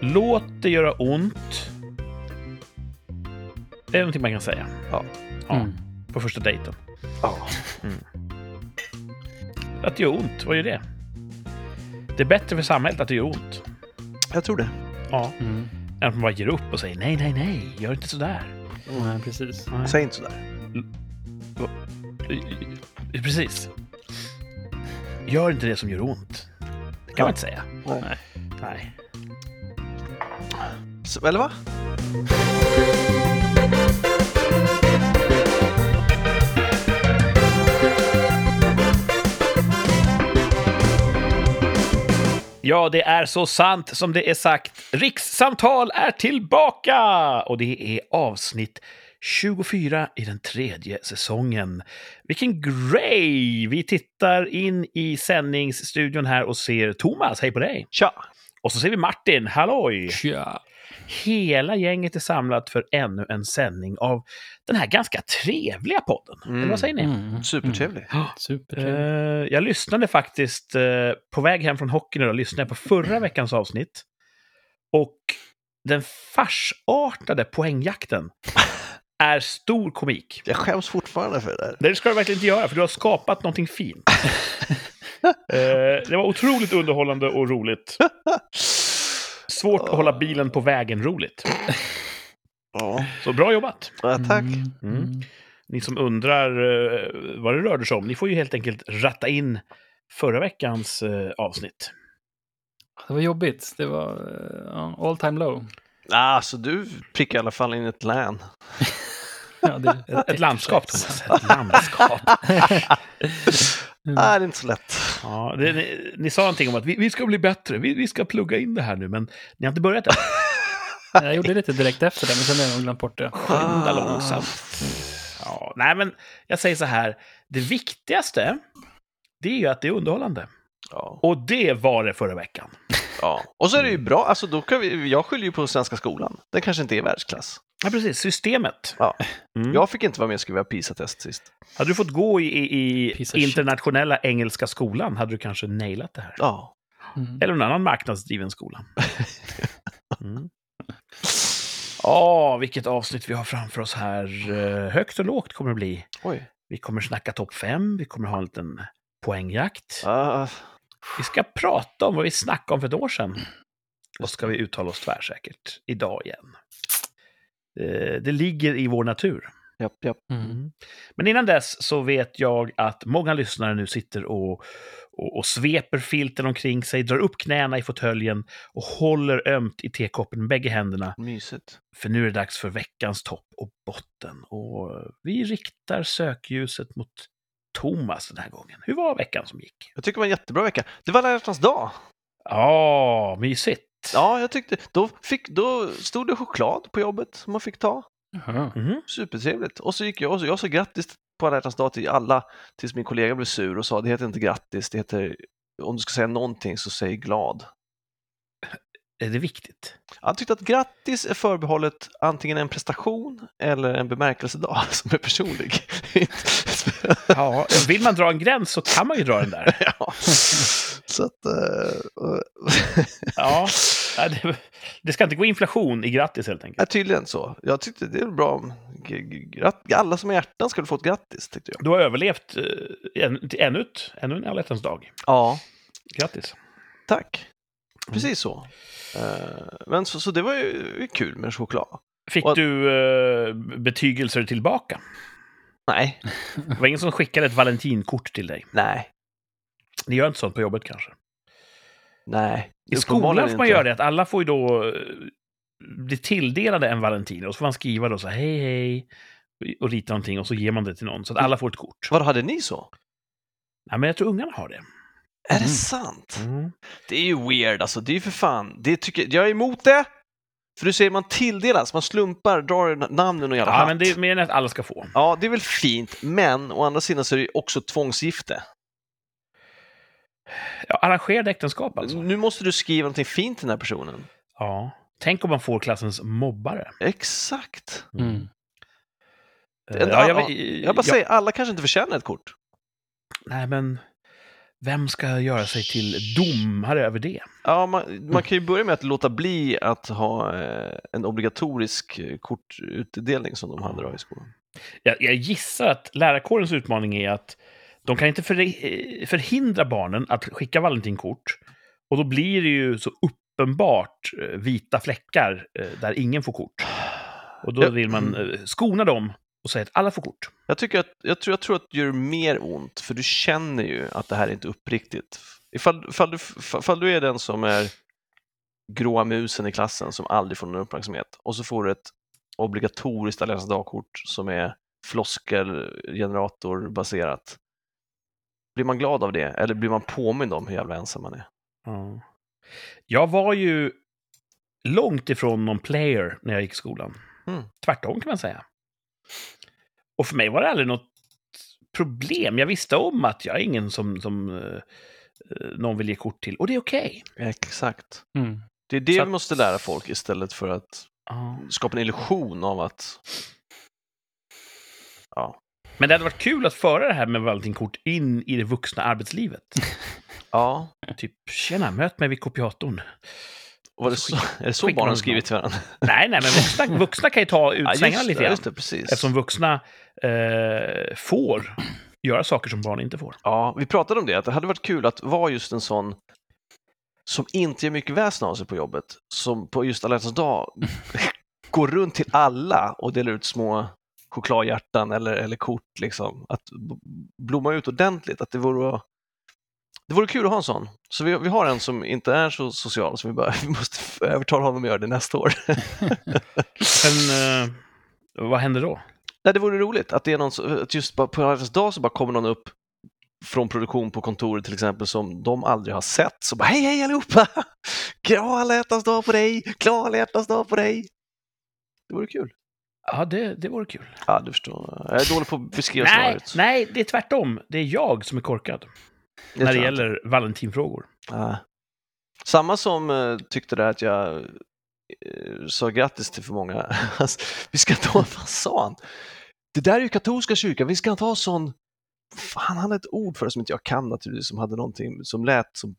Låt det göra ont. Det är någonting man kan säga. Ja. Ja, Mm. På första dejten. Ja. Att det gör ont, vad gör det? Det är bättre för samhället att det gör ont. Jag tror det. Ja. Mm. Än att man bara ger upp och säger nej, nej, nej, gör inte sådär. Nej, precis. Nej. Säg inte sådär. Precis. Gör inte det som gör ont. Det kan man inte säga. Nej. Nej. S- Eller va? Ja, det är så sant som det är sagt. Rikssamtal är tillbaka! Och det är avsnitt 24 i den tredje säsongen. Vilken grej! Vi tittar in i sändningsstudion här och ser Thomas, hej på dig! Tja! Och så ser vi Martin, halloj! Tja. Hela gänget är samlat för ännu en sändning av den här ganska trevliga podden. Mm. Eller vad säger ni? Mm. Supertrevlig. Mm. Supertrevligt. Eh, jag lyssnade faktiskt eh, på väg hem från hockeyn idag, lyssnade jag på förra veckans avsnitt. Och den farsartade poängjakten är stor komik. Jag skäms fortfarande för det där. Det ska du verkligen inte göra, för du har skapat någonting fint. Eh, det var otroligt underhållande och roligt. Svårt att hålla bilen på vägen roligt. Ja, Så bra jobbat! ja tack. Mm. Ni som undrar eh, vad det rörde sig om, ni får ju helt enkelt ratta in förra veckans eh, avsnitt. Det var jobbigt. Det var eh, ja, all time low. Alltså du prickar i alla fall in ett län. Ja, det är Ett landskap, Thomas. Ett landskap. Mm. Nej, det är inte så lätt. Ja, det, ni, ni sa någonting om att vi, vi ska bli bättre, vi, vi ska plugga in det här nu, men ni har inte börjat än. Jag gjorde lite direkt efter det, men sen har jag nog glömt bort det. Skynda Ah. långsamt. Ja, nej, men jag säger så här, det viktigaste, det är ju att det är underhållande. Ja. Och det var det förra veckan. ja. Och så är det ju bra, alltså då kan vi, jag skyller ju på svenska skolan. Den kanske inte är världsklass. Ja, precis, systemet. Ja. Mm. Jag fick inte vara med och skriva PISA-test sist. Hade du fått gå i, i, i Piece of shit. internationella engelska skolan hade du kanske nailat det här. Ja. Mm. Eller någon annan marknadsdriven skola. Mm. Ja, vilket avsnitt vi har framför oss här. Eh, Högt och lågt kommer det bli. Oj. Vi kommer snacka topp fem, vi kommer ha en liten poängjakt. Ah, Vi ska prata om vad vi snackade om för ett år sedan. Och ska vi uttala oss tvärsäkert idag igen. Eh, Det ligger i vår natur. japp, japp. Mm. Men innan dess så vet jag att många lyssnare nu sitter och, och, och sveper filten omkring sig, drar upp knäna i fåtöljen och håller ömt i tekoppen med bägge händerna. Mysigt. För nu är det dags för veckans topp och botten. Och vi riktar sökljuset mot Thomas den här gången. Hur var veckan som gick? Jag tycker det var en jättebra vecka. Det var alla hjärtans dag. Ja, mysigt. Ja, jag tyckte, då, fick, då stod det choklad på jobbet som man fick ta. Jaha. Mhm. Supertrevligt. Och så gick jag och så, jag sa grattis på alla hjärtans dag till alla tills min kollega blev sur och sa det heter inte grattis, det heter om du ska säga någonting så säg glad. Är det viktigt? Han tyckte att grattis är förbehållet antingen en prestation eller en bemärkelsedag som är personlig. Ja, vill man dra en gräns så kan man ju dra den där. ja. Så att... eh, Ja, ja, det, det ska inte gå inflation i grattis helt enkelt. Ja, tydligen så. Jag tyckte det är bra om... g- g- gratt- Alla som har hjärtan skulle få ett grattis, tyckte jag. Du har överlevt eh, en, till ännu, ett, ännu en alla hjärtans dag. Ja. Grattis! Tack. Mm. Precis så. Eh, Men så, så det var ju kul med choklad. Fick Och- du eh, betygelser tillbaka? Nej, Det var ingen som skickade ett valentinkort till dig? nej, Ni gör inte sånt på jobbet kanske? nej. I skolan får man göra det, att alla får ju då eh, bli tilldelade en valentin och så får man skriva då så här, hej hej och rita någonting och så ger man det till någon så att alla får ett kort. Vad hade ni så? Nej, men jag tror ungarna har det. Är det Mm. sant? Det är ju weird alltså. Det är ju för fan. Det tycker, jag är emot det! För du säger man tilldelas, man slumpar, drar na- namnen och jävla Ja, hatt. men det är mer än att alla ska få. Ja, det är väl fint, men å andra sidan så är det ju också tvångsgifte. Ja, arrangerade äktenskap alltså. Nu måste du skriva någonting fint till den här personen. Ja. Tänk om man får klassens mobbare. Exakt. Mm. Eh, En- ja, jag, Jag bara säger, alla kanske inte förtjänar ett kort. Nej, men Vem ska göra sig till domare över det? Ja, man, man kan ju börja med att låta bli att ha eh, en obligatorisk eh, kortutdelning som de hade då i skolan. Jag, jag gissar att lärarkårens utmaning är att de kan inte förhi- förhindra barnen att skicka valentinkort. Och då blir det ju så uppenbart eh, vita fläckar eh, där ingen får kort. Och då Ja. vill man eh, skona dem och säga att alla får kort. Jag, tycker att, jag, tror, jag tror att det gör mer ont, för du känner ju att det här är inte uppriktigt. Ifall, ifall, du, ifall du är den som är gråa musen i klassen som aldrig får någon uppmärksamhet och så får du ett obligatoriskt alla hjärtans dagkort som är floskelgeneratorbaserat. Blir man glad av det eller blir man påmind om hur jävla ensam man är? Jag var ju långt ifrån någon player när jag gick i skolan. Mm. Tvärtom kan man säga. Och för mig var det aldrig något problem. Jag visste om att jag är ingen som, som eh, eh, någon vill ge kort till. Och det är okej. Exakt. Mm. Det är det Så vi att- måste lära folk istället för att skapa en illusion av att ja, Men det hade varit kul att föra det här med valentinkort in i det vuxna arbetslivet. ja typ, tjena, möt mig vid kopiatorn. Var det så, är det så skicka barnen någon skrivit till varandra? Nej, nej, men vuxna, vuxna kan ju ta ut svängarna lite det, grann. just det, precis. Eftersom vuxna eh, får göra saker som barn inte får. Ja, vi pratade om det, att det hade varit kul att vara just en sån som inte gör mycket väsen av sig på jobbet, som på just alla hjärtans dag går runt till alla och delar ut små chokladhjärtan eller, eller kort, liksom. att b- blomma ut ordentligt. Att det, vore, det vore kul att ha en sån. Så vi, vi har en som inte är så social, så vi, bara, vi måste övertala honom att göra det nästa år. Men eh, vad händer då? Nej, det vore roligt att det är någon som, att just bara på Harvards dag så bara kommer någon upp från produktion på kontoret till exempel som de aldrig har sett. Så bara hej, hej allihopa! Glad alla hjärtans dag på dig! Glad alla hjärtans dag på dig! Det vore kul. Ja, det, det vore kul. Ja, du förstår. Jag är dålig på att beskriva Nej, scenariot. nej, det är tvärtom. Det är jag som är korkad Det när det tror jag gäller valentinfrågor. inte. Ja. Samma som eh, tyckte där att jag eh, sa grattis till för många. Alltså, vi ska inte ha, vad sa han? Det där är ju katolska kyrkan, vi ska inte ha sån... Fan, han hade ett ord för det som inte jag kan naturligtvis, som hade någonting som lät som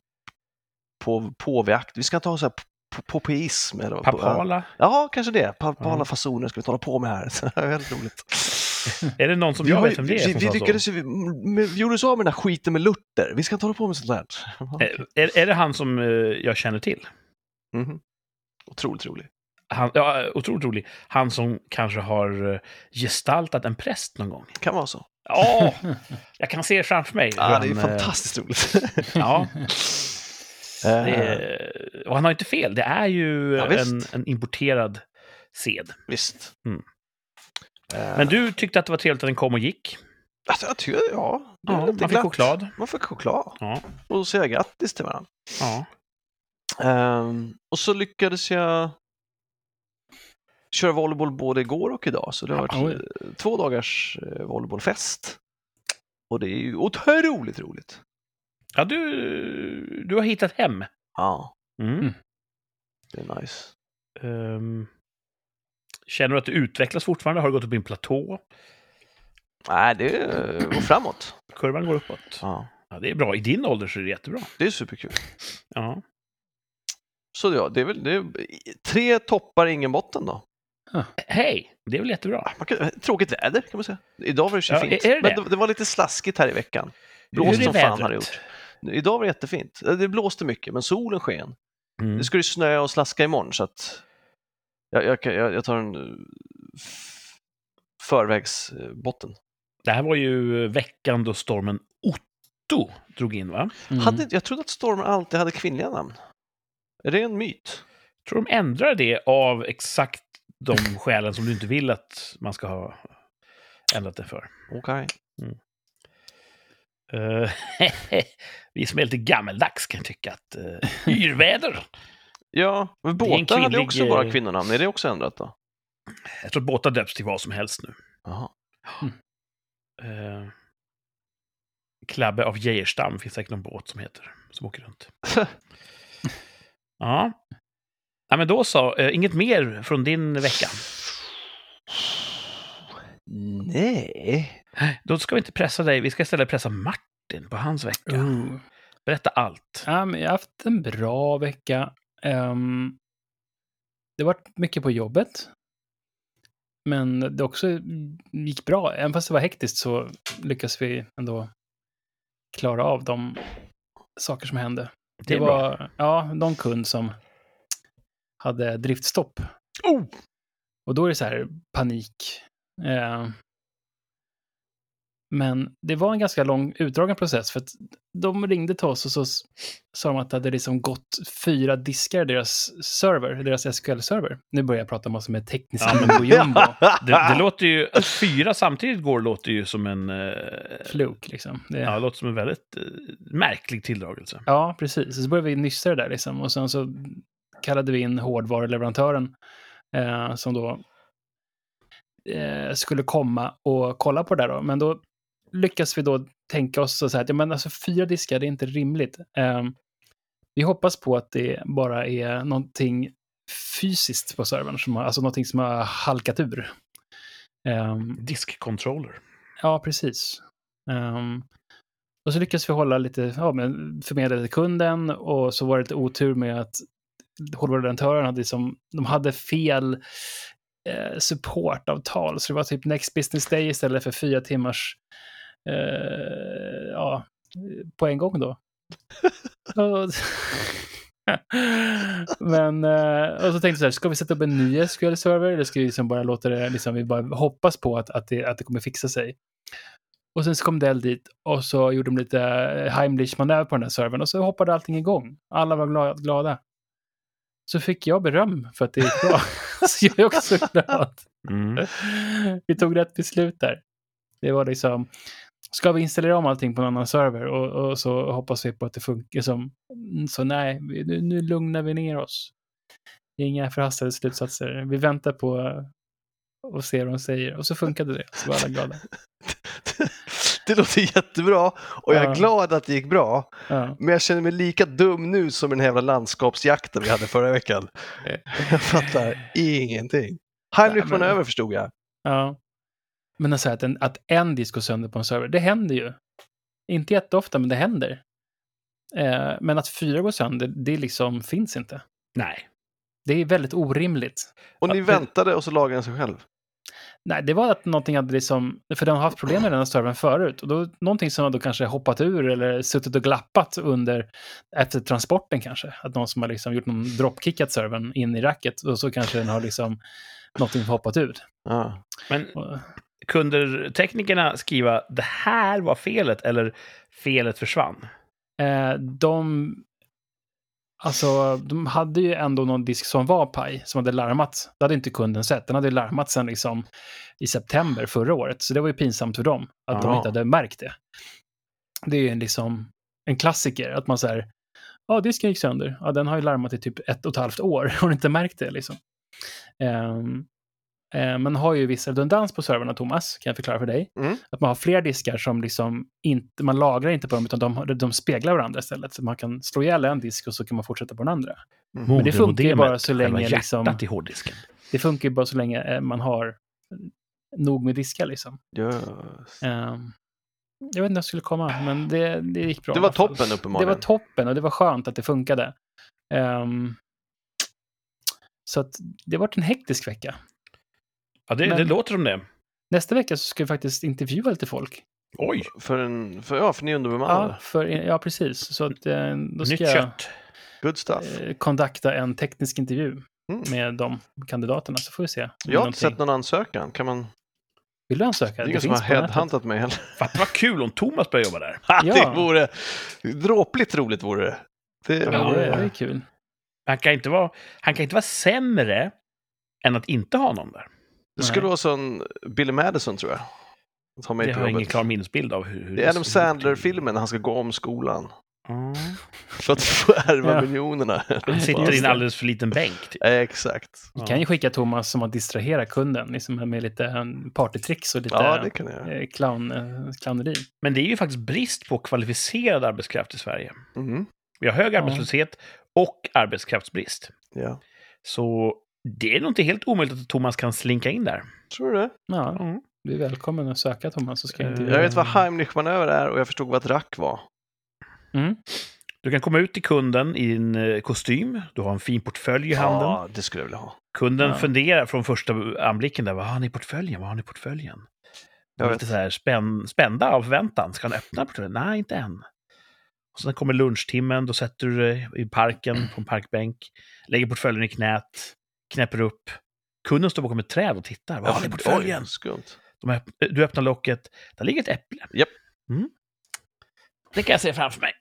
på, påveakt. Vi ska inte ha så här p- popeism eller vad- Papala? Ja, kanske det. Papala Ja. fasoner ska vi hålla på med här. Så det är väldigt roligt. Är det någon som vi, jag har vet ju- vem det är vi, som vi sa lyckades ju, vi, med- vi gjorde oss av med den här skiten med Luther. Vi ska inte hålla på med sånt där. så? Eh, Är, är det han som eh, jag känner till? Mhm. Otroligt rolig. Han, ja, otroligt rolig. Han som kanske har eh, gestaltat en präst någon gång. Kan vara så. Ja, jag kan se framför mig. hur Ja, det är han, eh, fantastiskt roligt. Ja, det är, och han har inte fel. Det är ju Ja, visst. en, en importerad sed. Visst. Mm. Eh, Men du tyckte att det var trevligt att den kom och gick. Alltså, jag tycker, ja, det är Ja, väl man inte fick glatt. choklad. Man fick choklad. Ja. Och säga grattis till varandra. Ja. Ehm, och så lyckades jag köra volleyboll både igår och idag. Så det har varit Oj. eh, två dagars eh, volleybollfest. Och det är ju otroligt roligt. Ja, du, du har hittat hem. Ja, Mm. Mm. det är nice. Ehm, känner du att du utvecklas fortfarande? Har du gått upp i en platå? Nej, det eh, går framåt. Kurvan går uppåt. Ja. Ja, det är bra. I din ålder så är det jättebra. Det är superkul. Ja. Så ja, det är väl det är, tre toppar, ingen botten då. Hej, det är väl jättebra. Man kan, tråkigt väder kan man säga. Idag var det så Ja, fint. är- är det Men det? det, det var lite slaskigt här i veckan. Hur Blåst är som fan vädret? har det gjort. Idag var det jättefint. Eh, Det blåste mycket, men solen sken. Mm. Nu ska det snöa och slaska imorgon så att jag, jag, kan- jag, jag tar en eh, f- förvägsbotten. Det här var ju veckan då stormen Otto drog in, va? Mm. Hade, jag trodde att stormar alltid hade kvinnliga namn. Är det en myt? Tror de ändrar det av exakt de skälen som du inte vill att man ska ha ändrat det för? Okej. Eh, vi som är lite gammeldags kan tycka att uh, yrväder. Ja, men Det är en båtar hade kvinnlig, ju också bara eh, kvinnonamn. Är det också ändrat då? Jag tror att båtar döps till vad som helst nu. Jaha. Eh, Klabbe av Geijerstam finns säkert någon båt som heter, som åker runt. Ja. ja men då så, eh, inget mer från din vecka. Nej. Då ska vi inte pressa dig, vi ska istället pressa Martin. Martin på hans vecka? Ooh. Berätta allt. Mm. Ja, men jag har haft en bra vecka. Ehm, det har varit mycket på jobbet. Men det också gick bra. Även fast det var hektiskt så lyckades vi ändå klara av de saker som hände. Det, är bra. var ja, någon kund som hade driftstopp. Oh! Och då är det så här panik. Eh, men det var en ganska lång utdragen process för att de ringde till oss och så s- sa de att det hade liksom gått fyra diskar i deras server, deras SQL-server. Nu börjar jag prata om vad som är tekniskt Ja, men- jumbo jumbo. Ah! Det, det låter ju... Att fyra samtidigt går låter ju som en... eh, Fluk liksom. Det, Ja, det låter som en väldigt eh, märklig tilldragelse. Ja, precis. Så började vi nyssa det där liksom. Och sen så kallade vi in hårdvaruleverantören eh, som då eh, skulle komma och kolla på det där då. Men då lyckas vi då tänka oss så så här att ja, men alltså fyra diskar, det är inte rimligt. Eh, vi hoppas på att det bara är någonting fysiskt på servern, som har, alltså någonting som har halkat ur. Eh, Diskcontroller. Ja, precis. Ehm, och så lyckades vi hålla lite, ja, men förmedla till kunden och så var det lite otur med att hårdvaruleverantören hade liksom, de hade fel eh, supportavtal, så det var typ next business day istället för fyra timmars eh, ja, på en gång då. Och- Men, eh, och så tänkte jag så här, ska vi sätta upp en ny SQL-server eller ska vi liksom bara låta det, liksom, vi bara hoppas på att, att, det, att det kommer fixa sig. Och sen så kom Dell dit och så gjorde de lite eh, Heimlich-manöver på den här servern och så hoppade allting igång. Alla var gla- glada. Så fick jag beröm för att det gick bra. så jag är också glad. Mm. Vi tog rätt beslut där. Det var liksom, ska vi installera om allting på en annan server och, och så hoppas vi på att det funkar som, mm, så nej, vi- nu, nu lugnar vi ner oss. Inga förhastade slutsatser. Vi väntar på eh, och ser vad de säger. Och så funkade det, så var alla glada. Det låter jättebra och jag Ja. är glad att det gick bra. Ja. Men jag känner mig lika dum nu som i den här jävla landskapsjakten vi hade förra veckan. Jag fattar ingenting. Heinrich Nej, von men- över förstod jag. ja. Men alltså att en, att en disk går sönder på en server, det händer ju. Inte jätteofta, men det händer. Eh, men att fyra går sönder, det liksom finns inte. Nej. Det är väldigt orimligt. Och ni Ja, det- väntade och så lagade den sig själv. Nej, det var att någonting hade liksom, för de har haft problem med den här servern förut. Och då, någonting som har då kanske hoppat ur eller suttit och glappat under, efter transporten kanske. Att någon som har liksom gjort någon droppkickat servern in i racket och så kanske den har liksom någonting hoppat ur. Ja. Men Och, kunde teknikerna skriva det här var felet eller felet försvann? eh, de, alltså, de hade ju ändå någon disk som var paj, som hade larmat. Det hade inte kunden sett. Den hade ju larmat sen liksom i september förra året. Så det var ju pinsamt för dem att de Ja. inte hade märkt det. Det är ju en, liksom, en klassiker, att man så här, ja, disken gick sönder. Ja, den har ju larmat i typ ett och ett halvt år och inte märkt det liksom. Ehm, eh, man har ju viss redundans på servrarna, Thomas, kan jag förklara för dig. Mm. Att man har fler diskar som liksom inte, man lagrar inte på dem, utan de, de speglar varandra istället. Så man kan slå ihjäl en disk och så kan man fortsätta på den andra. Mm. Men det funkar ju bara så länge hjärtat liksom, i hårddisken. det funkar ju bara så länge eh, man har nog med diskar liksom. Yes. Ehm, jag vet inte om jag skulle komma, men det, det gick bra. Det i var alla fall. toppen Det uppenbarligen. var toppen och det var skönt att det funkade. Ehm, så att det har varit en hektisk vecka. Ja, det, Men- det låter som det. Nästa vecka så ska vi faktiskt intervjua lite folk. Oj, för, en, för, ja, för ni är underbemannade. Ja, för, ja precis. Så att, eh, då ska nytt jag kött. Good stuff. eh, kontakta en teknisk intervju Mm. med de kandidaterna, så får vi se. om det är Jag har inte någonting. sett någon ansökan. Kan man... Vill du ansöka? Det är ingen som har finns på nätet. headhuntat mig heller. Fatta vad kul om Thomas började jobba där. Det Ja. vore dråpligt roligt vore det. Det Ja, det vore... är det är kul. Han kan inte vara, han kan inte vara sämre än att inte ha någon där. Det skulle vara sån Billy Madison tror jag. Ta mig Det på har jag ingen jobbet. klar minnesbild av. Hur, hur Det är Adam skulle gå till. Sandler-filmen när han ska gå om skolan. Mm. För att få ärva Ja. miljonerna. Han sitter i Just en det. alldeles för liten bänk. Typ. Exakt. Vi kan ju skicka Thomas som att distrahera kunden, liksom med lite eh, partytricks och lite Ja, det kan jag göra. eh, clown, eh, clowneri. Men det är ju faktiskt brist på kvalificerad arbetskraft i Sverige. Mhm. Vi har hög Ja. arbetslöshet och arbetskraftsbrist. Ja. Så det är nog inte helt omöjligt att Thomas kan slinka in där. Tror du det? Ja, Du är välkommen att söka Thomas. Så ska jag, intervjua Eh, Jag vet Eh. dig. vad Heimlich-manöver är och jag förstod vad ett rack var. Mm. Du kan komma ut till kunden i en eh, kostym. Du har en fin portfölj i handen. Ja, det skulle jag vilja ha. Kunden Ja. funderar från första anblicken där, vad har ni i portföljen? Vad har ni i portföljen? De Jag är vet. lite så här spänn, spända av förväntan. Ska han öppna portföljen? Nej, inte än. Och sen kommer lunchtimmen, då sätter du dig i parken på en parkbänk, lägger portföljen i knät, knäpper upp. Kunden står bakom ett träd och tittar. Vad har ni i Oj, portföljen? Skumt. De öpp du öppnar locket, där ligger ett äpple. Japp. Mm. Det kan jag se framför mig.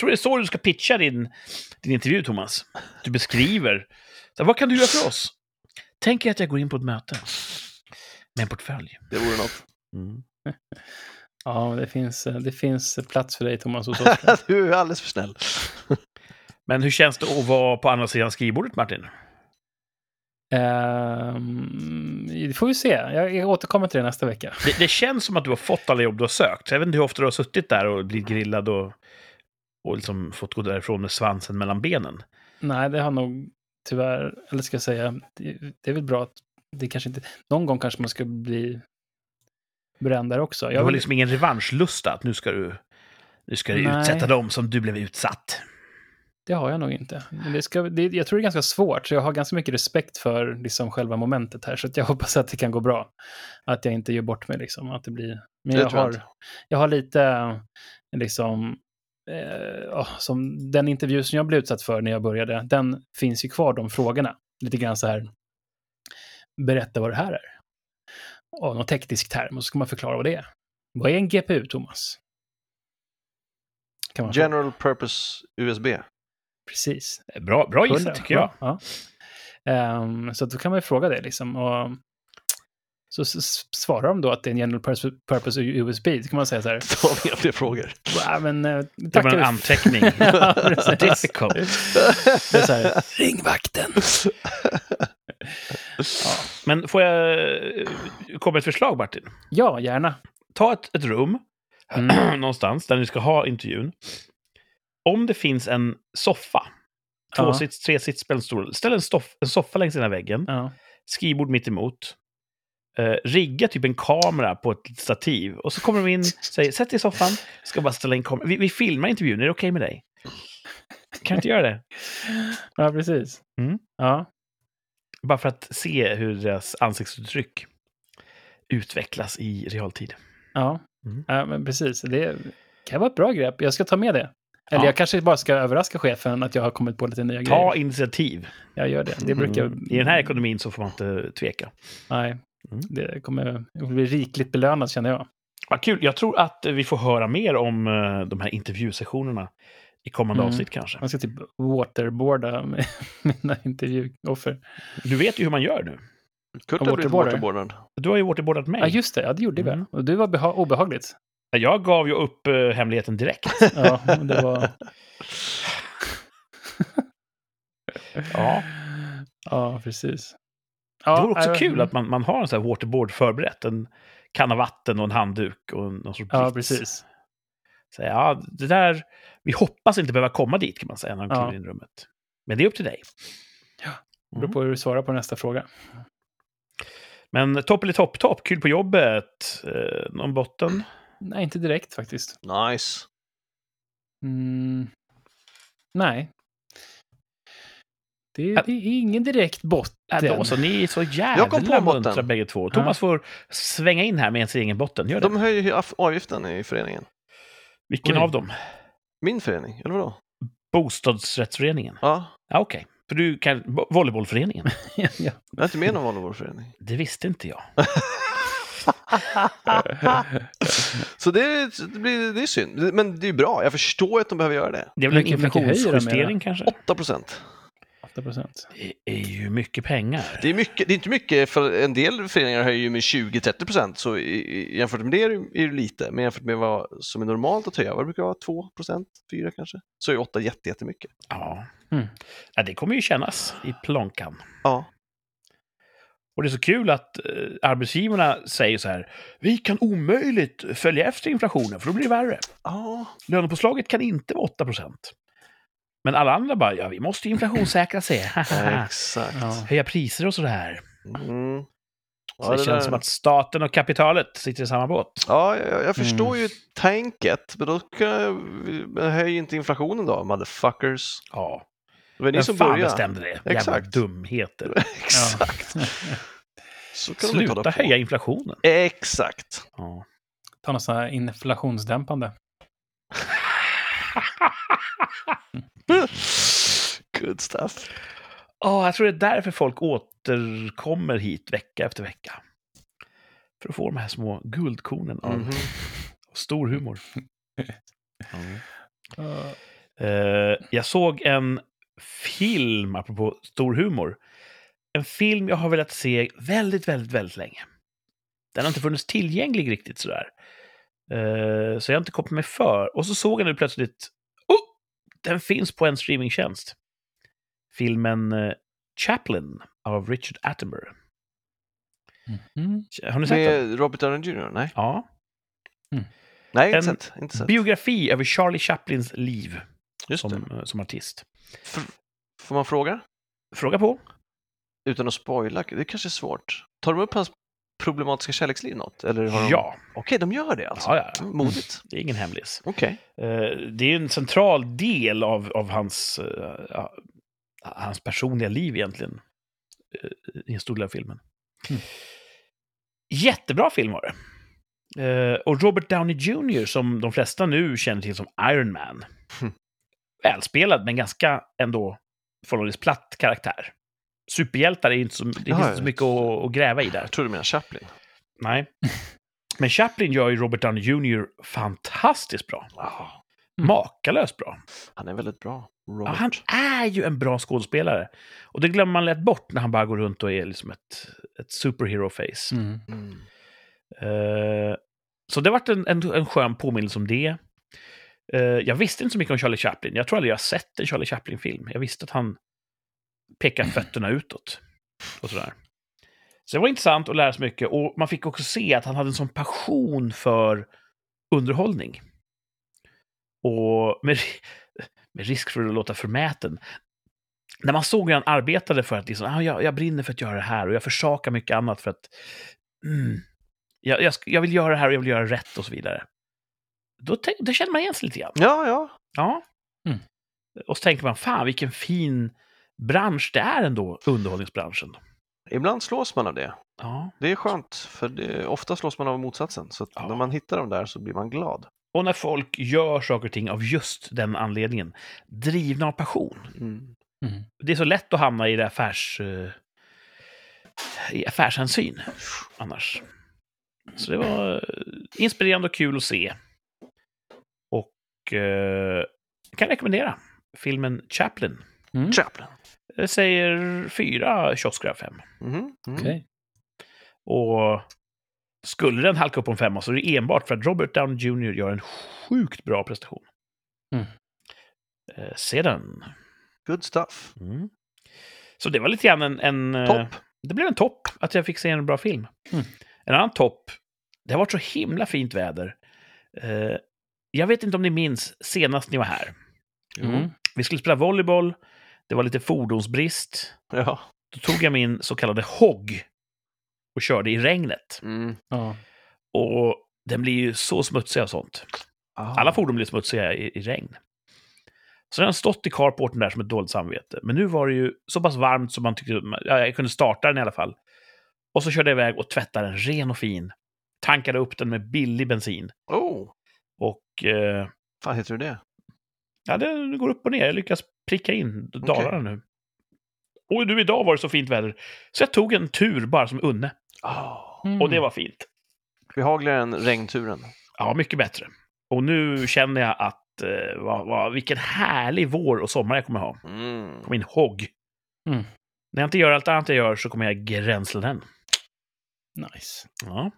Tror det är så du ska pitcha din, din intervju, Thomas? Du beskriver. Så, här, vad kan du göra för oss? Tänk er att jag går in på ett möte med en portfölj. Det vore något. Ja, det finns, eh, det finns plats för dig Thomas hos oss. Du är alldeles för snäll. Men hur känns det att vara på andra sidan skrivbordet, Martin? Ehm, det får vi se. Jag, jag återkommer till det nästa vecka. Det, det känns som att du har fått alla jobb du har sökt. Jag vet inte hur ofta du har suttit där och blivit grillad och, och liksom fått gå därifrån med svansen mellan benen. Nej, det har nog tyvärr, eller ska jag säga, det, det är väl bra att det kanske inte, någon gång kanske man ska bli brändare också. Du Jag har vill, liksom ingen revanschlusta att nu ska du, nu ska du Nej. utsätta dem som du blev utsatt. Det har jag nog inte. Men det ska, det, jag tror det är ganska svårt, så jag har ganska mycket respekt för liksom, själva momentet här, så att jag hoppas att det kan gå bra. Att jag inte gör bort mig, liksom, att det blir... Men Det jag tror jag har, inte. jag har lite, liksom... Eh, ja, som den intervju som jag blev utsatt för när jag började, den finns ju kvar, de frågorna. Lite grann så här, berätta vad det här är. Och någon teknisk term, och så ska man förklara vad det är. Vad är en GPU, Thomas? Kan man fråga. General purpose USB. Precis. Bra, bra Hundra, gissat tycker jag. Ja. ja. Ehm, så att då kan man ju fråga det liksom. Och så s- s- svarar de då att det är en general purpose- purpose USB. Så kan man säga så här. Ta med fler frågor. "Va, men, eh, Det var tackar en vi- anteckning. Ja, precis. Difficult. Det är så här, Ring vakten. Men får jag eh, komma med ett förslag, Martin? Ja, gärna. Mm. Ta ett, ett rum någonstans där ni ska ha intervjun. Om det finns en soffa, Ja. tvåsits, tresits, stor, ställ en, stoff, en soffa längs den här väggen, Ja. skrivbord mitt emot. Eh, rigga typ en kamera på ett stativ. Och så kommer de in, säger sätt dig i soffan, ska bara ställa in kameran. Vi, vi filmar intervjun, är det okej med dig? Kan vi inte göra det? ja, precis. Mm. Ja. Bara för att se hur deras ansiktsuttryck utvecklas i realtid. Ja. Mm. ja, men precis. Det kan vara ett bra grepp. Jag ska ta med det. Eller Ja. jag kanske bara ska överraska chefen att jag har kommit på lite nya Ta grejer. initiativ. Jag gör det. Det Mm. brukar... Mm. I den här ekonomin så får man inte tveka. Nej, Mm. det kommer jag bli rikligt belönad känner jag. Vad kul. Jag tror att vi får höra mer om eh, de här intervjusessionerna i kommande Mm. avsnitt kanske. Man ska typ waterboarda med mina intervjuoffer. Du vet ju hur man gör nu. Kurt En har blivit waterboarder. waterboardad. Du har ju waterboardat mig. Ja, just det. Ja, det gjorde vi. Mm. Och du var beha- obehagligt. Jag gav ju upp eh, hemligheten direkt. Ja, det var... Ja. Ja, precis. Det Ja, vore också äh, kul att man, man har en sån här waterboard förberett. En kanna vatten och en handduk och en, någon sorts Ja, brits. precis. Så, ja, det där, vi hoppas inte behöva komma dit kan man säga när de Ja. kliver in i rummet. Men det är upp till dig. Det Mm. beror på hur du svarar på nästa fråga. Men topp eller topp, topp, kul på jobbet, eh, någon botten. Nej, inte direkt faktiskt. Nice. Mm. Nej. Det, Ja. det är ingen direkt botten. Äh, då, så ni är så Jag kom på jävla botten. muntra bägge två. Thomas får svänga in här med sin egen botten. Gör det. De höjer ju af- avgiften i föreningen. Vilken Oj. av dem? Min förening, eller vadå? Bostadsrättsföreningen? Ja, Ja, Okej, för du kan... bo- Volleybollföreningen? ja. jag är inte med i någon Volvobordsförening. Det visste inte jag. Så det, är- det, blir, det är synd. Men det är ju bra. Jag förstår att de behöver göra det. Det är väl en Mycket- mycket höjer de, inflationsjustering menar. kanske? 8 procent. 8 procent. Det är ju mycket pengar. Det är, mycket, det är inte mycket, för en del föreningar höjer ju med 20-30 procent, så i, i, jämfört med det är det, är det lite. Men jämfört med vad som är normalt att höja, vad brukar det vara? 2 procent, 4 kanske? Så är 8 jätte, jättemycket. Ja. Mm. ja, det kommer ju kännas i plånkan. Ja, Och det är så kul att eh, arbetsgivarna säger så här. Vi kan omöjligt följa efter inflationen, för då blir det värre. ja Lönepåslaget kan inte vara 8 Men alla andra bara, ja, vi måste ju inflationssäkra sig. exakt. Ja. Höja priser och sådär. Mm. Så Ja, det det känns där- som att staten och kapitalet sitter i samma båt. Ja, jag, jag Mm. förstår ju tänket, men då kan jag, men höj inte inflationen då, motherfuckers. Ja, Det var ni vem som fan började. bestämde det? Jävla Exakt. dumheter. Exakt. Så kan de inte Sluta hålla på. höja inflationen. Exakt. Ja. Ta något sånt här inflationsdämpande. Good stuff. Ja, jag tror det är därför folk återkommer hit vecka efter vecka. För att få de här små guldkornen av Mhm. stor humor. Eh, Eh, jag såg en film, apropå stor humor. En film jag har velat se väldigt, väldigt, väldigt länge. Den har inte funnits tillgänglig riktigt sådär. Eh, så jag har inte kommit mig för. Och så såg jag nu plötsligt, oh, den finns på en streamingtjänst. Filmen eh, Chaplin av Richard Attenborough. mhm. Har ni sett den? Med Robert Downey Jr? Nej, Ja. Nej inte En sett. Inte sett. Biografi över Charlie Chaplins liv Just det. som, eh, som artist. F- får man fråga? Fråga på. Utan att spoila? Det kanske är svårt. Tar de upp hans problematiska kärleksliv något? Eller har de... Ja. Okej, de gör det alltså? Ja, ja, ja. Mm, Modigt. Det är ingen hemlis. Okej. Eh, Det är ju en central del av, av hans, eh, ja, hans personliga liv egentligen. eh, I en stor del av filmen. Mm. Jättebra film var det. Eh, Och Robert Downey Jr. som de flesta nu känner till som Iron Man. Mm. Välspelad men ganska ändå förhållandevis platt karaktär. Superhjältar är ju inte så, det Ja, finns inte så ja. mycket att, att gräva i där. Jag tror du menar Chaplin. Nej. Men Chaplin gör ju Robert Downey Jr. fantastiskt bra. Ja, Mm. Makalöst bra. han är väldigt bra. Ja, Robert. han är ju en bra skådespelare. Och det glömmer man lätt bort när han bara går runt och är liksom ett, ett superhero-face. Mm. Mm. Eh, så det vart en, en, en skön påminnelse om det. Eh, jag visste inte så mycket om Charlie Chaplin. Jag tror aldrig jag har sett en Charlie Chaplin-film. Jag visste att han pekar fötterna utåt. Och sådär. Så det var intressant att lära sig mycket. Och man fick också se att han hade en sån passion för underhållning. Och med, ri- med risk för att låta förmäten. När man såg hur han arbetade för att liksom, ah, jag, jag brinner för att göra det här och jag försakar mycket annat för att mm, jag, jag, sk- jag vill göra det här och jag vill göra rätt och så vidare. Då, tänk, då känner man igen sig lite grann. Ja, ja. Ja. Mm. Och så tänker man, fan vilken fin bransch det är ändå, underhållningsbranschen. Ibland slås man av det. Ja. Det är skönt, för det, ofta slås man av motsatsen. Så att Ja. när man hittar dem där så blir man glad. Och när folk gör saker och ting av just den anledningen, drivna av passion. Mm. Mm. Det är så lätt att hamna i det affärs... eh, I affärshänsyn annars. Så det var eh, inspirerande och kul att se. Och eh, jag kan rekommendera filmen Chaplin. Mm. Chaplin. Jag säger fyra kiosker av fem. Mhm, mhm. Okej. Och skulle den halka upp på en femma så är det enbart för att Robert Downey Jr. gör en sjukt bra prestation. Mm. Eh, se den. Good stuff. Mm. Så det var lite grann en... en eh, Topp. Det blev en topp att jag fick se en bra film. Mm. En annan topp, det har varit så himla fint väder. Eh, jag vet inte om ni minns senast ni var här. Mm. Vi skulle spela volleyboll, det var lite fordonsbrist. Ja. Då tog jag min så kallade hogg och körde i regnet. Mm. Ja. Och den blir ju så smutsig och sånt. Ah. Alla fordon blir smutsiga i, i regn. Så den har stått i carporten där som ett dåligt samvete. Men nu var det ju så pass varmt som man tyckte, ja, jag kunde starta den i alla fall. Och så körde jag iväg och tvättade den ren och fin. Tankade upp den med billig bensin. Oh, Och eh, fan heter du det? ja, den går upp och ner. Jag lyckas pricka in Dalarna nu. Och nu idag var det så fint väder. Så jag tog en tur bara som unne. Oh. Mm. Och det var fint. Behagligare än regnturen. Ja, mycket bättre. Och nu känner jag att eh, vad, vad, vilken härlig vår och sommar jag kommer ha. Mm. På min hogg. Mm. När jag inte gör allt annat jag gör så kommer jag gränsla den. Nice. Ja.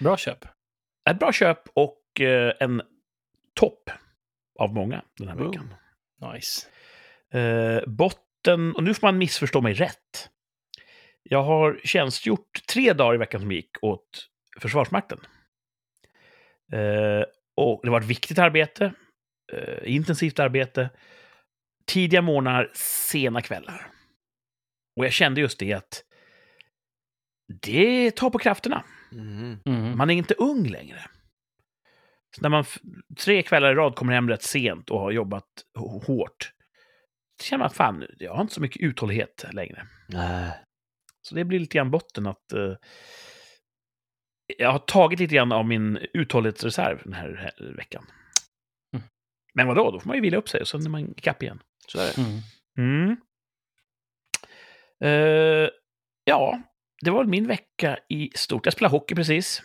Bra köp. Ett bra köp och eh, en topp av många den här veckan. Boom. Nice. Eh, botten, och nu får man missförstå mig rätt. Jag har tjänstgjort tre dagar i veckan som gick åt Försvarsmakten. Eh, och det var ett viktigt arbete, eh, intensivt arbete, tidiga morgnar, sena kvällar. Och jag kände just det att Det tar på krafterna. Mm. Mm. Man är inte ung längre. Så när man f- tre kvällar i rad kommer hem rätt sent och har jobbat h- hårt, då känner man fan, jag har inte så mycket uthållighet längre. Nej. Så det blir lite grann botten att eh, jag har tagit lite grann av min uthållighetsreserv den här, här veckan. Mm. Men vadå, då får man ju vila upp sig och sen är man ikapp igen. Så är det. Mm. Mm. Eh, ja, det var väl min vecka i stort. Jag spelade hockey precis.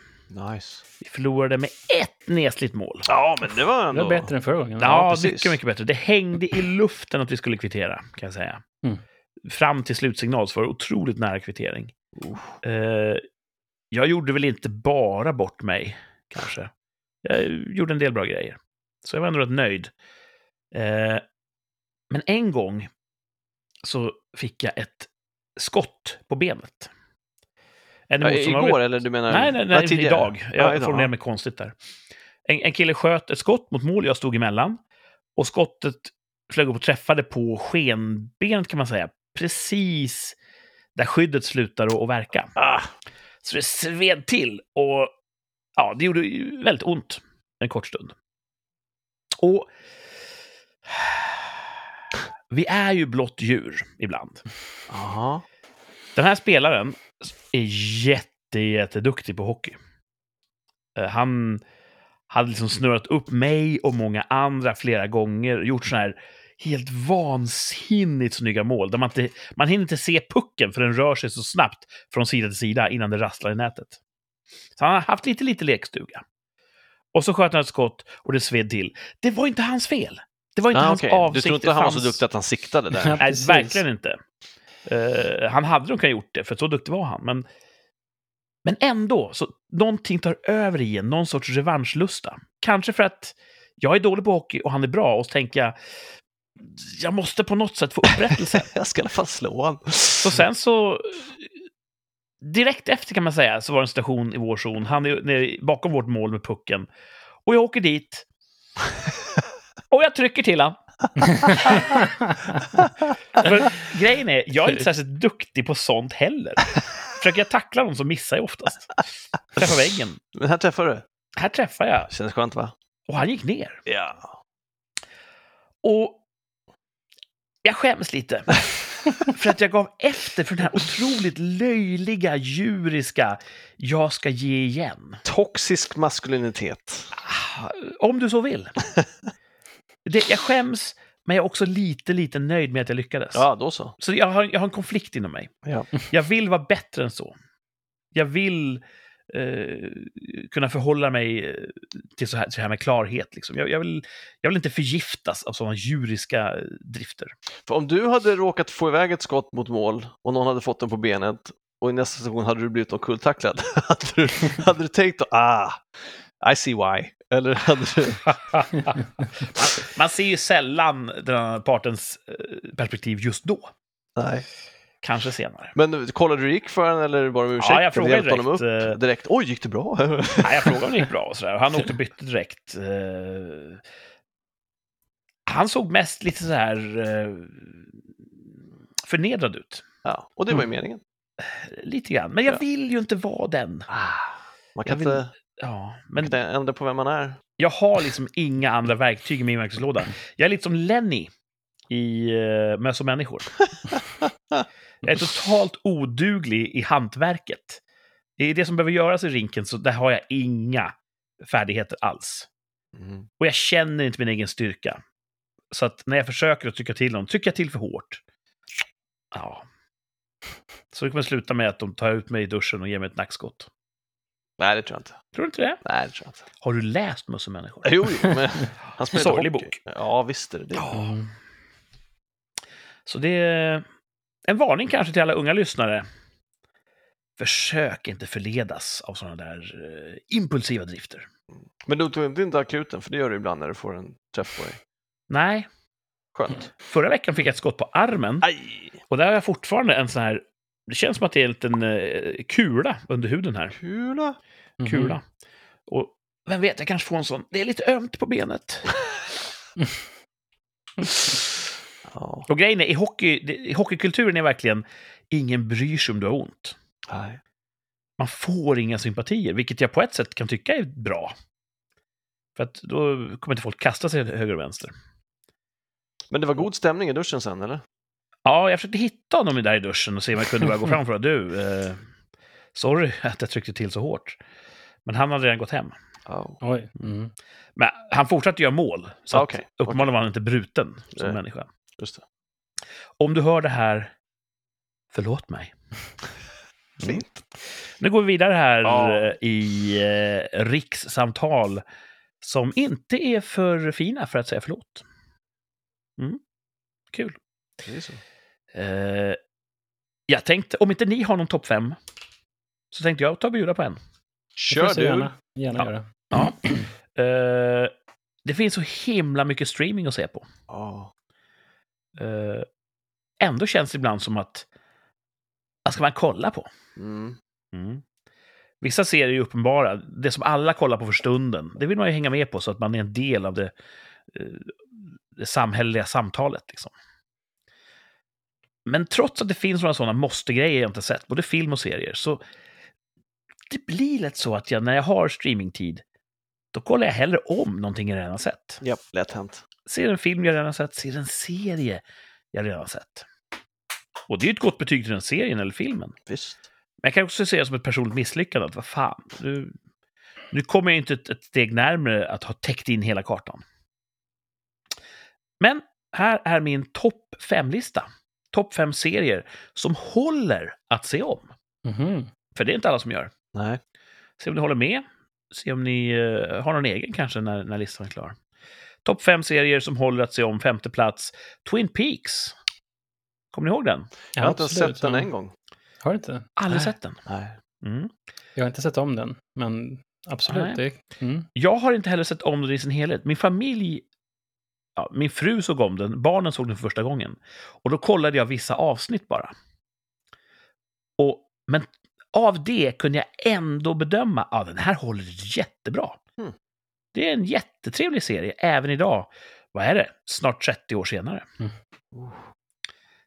Nice. Vi förlorade med ett nesligt mål. Ja, men det var Det ändå... var bättre än förra gången. Ja, precis. mycket, mycket bättre. Det hängde i luften att vi skulle kvittera, kan jag säga. Mm. Fram till slutsignal så var det otroligt nära kvittering. Eh, jag gjorde väl inte bara bort mig, kanske. Jag gjorde en del bra grejer. Så jag var ändå rätt nöjd. Eh, men en gång så fick jag ett skott på benet. En Ja, motståndare- igår, eller du menar... Nej, nej, nej, Ja, tidigare. idag. Jag Ja, idag, formulerade mig konstigt där. En, en kille sköt ett skott mot mål, jag stod emellan. Och skottet flög upp och träffade på skenbenet kan man säga. Precis där skyddet slutar att- att verka. Ah, Så det sved till och ja, det gjorde ju väldigt ont en kort stund. Och vi är ju blott djur ibland. Jaha. Den här spelaren är jätte, jätteduktig på hockey. Eh, Han hade liksom snurrat upp mig och många andra flera gånger och gjort sådana här helt vansinnigt snygga mål. Där man, inte, man hinner inte se pucken för den rör sig så snabbt från sida till sida innan det rasslar i nätet. Så han har haft lite, lite lekstuga. Och så sköt han ett skott och det sved till. Det var inte hans fel. Det var inte Ah, hans okej. Du avsikt. tror inte det han var så fanns- duktig att han siktade där? Ja, Nej, precis. verkligen inte. Eh, han hade nog kunnat gjort det, för så duktig var han. Men, men ändå, så någonting tar över i en, någon sorts revanschlusta. Kanske för att jag är dålig på hockey och han är bra, och så tänker jag jag måste på något sätt få upprättelse. Jag ska i alla fall slå honom. så sen så... Direkt efter kan man säga så var det en situation i vår zon. Han är nere bakom vårt mål med pucken. Och jag åker dit. Och jag trycker till han. För grejen är, jag är inte särskilt duktig på sånt heller. Försöker jag tackla dem så missar jag oftast. Träffar väggen. Men här träffar du. Här träffar jag. Känns skönt va? Och han gick ner. Ja. Och jag skäms lite. För att jag gav efter för den här otroligt löjliga, djuriska, jag ska ge igen. Toxisk maskulinitet. Ah, Om du så vill. Det, jag skäms, men jag är också lite, lite nöjd med att jag lyckades. Ja, då så. Så jag har, jag har en konflikt inom mig. Ja. Jag vill vara bättre än så. Jag vill eh, kunna förhålla mig eh, till så här, till det här med klarhet. Liksom. Jag, jag, vill, jag vill inte förgiftas av sådana djuriska eh, drifter. För om du hade råkat få iväg ett skott mot mål och någon hade fått den på benet och i nästa situation hade du blivit omkulltacklad, hade du, hade du tänkt då, ah, I see why? Eller hade du, man, man ser ju sällan den andra partens eh, perspektiv just då. nej. Kanske senare. Men kollade du hur det gick för honom eller var det ursäkt? Ja, jag frågade honom upp direkt, eh, direkt. Oj, gick det bra? Nej, jag frågade om det gick bra och sådär. Och Han åkte och bytte direkt. Eh, han såg mest lite så här eh, förnedrad ut. ja, och det Mm. var ju meningen. Lite grann. Men jag Ja. Ah. vill ju inte vara den. Man Jag kan, vill- inte, Ja, man kan men inte ändra på vem man är. jag har liksom inga andra verktyg i min verktygslåda. Jag är lite som Lenny i uh, Möss och människor. jag är totalt oduglig i hantverket. Det är det som behöver göras i rinken, så där har jag inga färdigheter alls. Mm. Och jag känner inte min egen styrka. Så att när jag försöker att trycka till dem, trycker jag till för hårt. Ja. Så det kommer sluta med att de tar ut mig i duschen och ger mig ett nackskott. Nej, det tror jag inte. Tror du inte det? Nej, det tror jag inte. Har du läst Möss och människor? Jo, jo, men han spelade Sorglig hockey. bok. Ja, visst är det det. Ja. Så det är en varning kanske till alla unga lyssnare. Försök inte förledas av sådana där eh, impulsiva drifter. Men du tog inte akuten, för det gör du ibland när du får en träff på dig. Nej, Skönt. förra veckan fick jag ett skott på armen Aj! och där har jag fortfarande en sån här... Det känns som att det är en liten eh, kula under huden här. Kula! Mhm. Kula. Mm-hmm. Och vem vet, jag kanske får en sån. Det är lite ömt på benet. Ja. Och grejen är, i, hockey, i hockeykulturen är verkligen ingen bryr sig om du har ont. Nej. man får inga sympatier, vilket jag på ett sätt kan tycka är bra. För att då kommer inte folk kasta sig höger och vänster. Men det var god stämning i duschen sen, eller? Ja, jag försökte hitta honom där i duschen och se om jag kunde bara gå fram och fråga du, eh, sorry att jag tryckte till så hårt. Men han hade redan gått hem. Ja. Oj. Mm. Men han fortsatte göra mål, så att Ah, Okej, uppenbarligen var han inte bruten som Nej. människa. just det. Om du hör det här, förlåt mig. Fint. Nu går vi vidare här Ja. eh, i eh, rikssamtal som inte är för fina för att säga förlåt. Mm. Kul. Det är så. Eh, jag tänkte, om inte ni har någon topp fem, så tänkte jag ta och bjuda på en. Det får Kör jag så du! Gärna, gärna Ja. göra. Eh, det finns så himla mycket streaming att se på. Ja. Eh, ändå känns det ibland som att, vad ska man kolla på? Mm. Mm. Vissa serier är uppenbara. Det som alla kollar på för stunden, det vill man ju hänga med på så att man är en del av det, eh, det samhälleliga samtalet. Liksom. Men trots att det finns några sådana måste-grejer jag inte sett, både film och serier, så det blir lätt så att jag, när jag har streamingtid, då kollar jag hellre om någonting jag redan har sett. Japp, lätt hänt. Ser en film jag redan har sett, ser en serie jag redan har sett. Och det är ju ett gott betyg till den serien eller filmen. Visst. Men jag kan också se det som ett personligt misslyckande. Att, vad fan, nu, nu kommer jag inte ett, ett steg närmare att ha täckt in hela kartan. Men här är min topp fem-lista. Topp fem serier som håller att se om. Mhm. För det är inte alla som gör. Nej. Se om ni håller med. Se om ni eh, har någon egen kanske när, när listan är klar. Topp fem serier som håller att se om. Femte plats, Twin Peaks. Kommer ni ihåg den? Jag har inte ens Absolut, sett den ja. en gång. Har du inte? Aldrig Nej. sett den. Nej. Mm. Jag har inte sett om den, men absolut. Det, mm. Jag har inte heller sett om den i sin helhet. Min familj, ja, min fru såg om den, barnen såg den för första gången. Och då kollade jag vissa avsnitt bara. Och, men av det kunde jag ändå bedöma att ja, den här håller jättebra. Mm. Det är en jättetrevlig serie, även idag. Vad är det? Snart 30 år senare. Mm. Oh.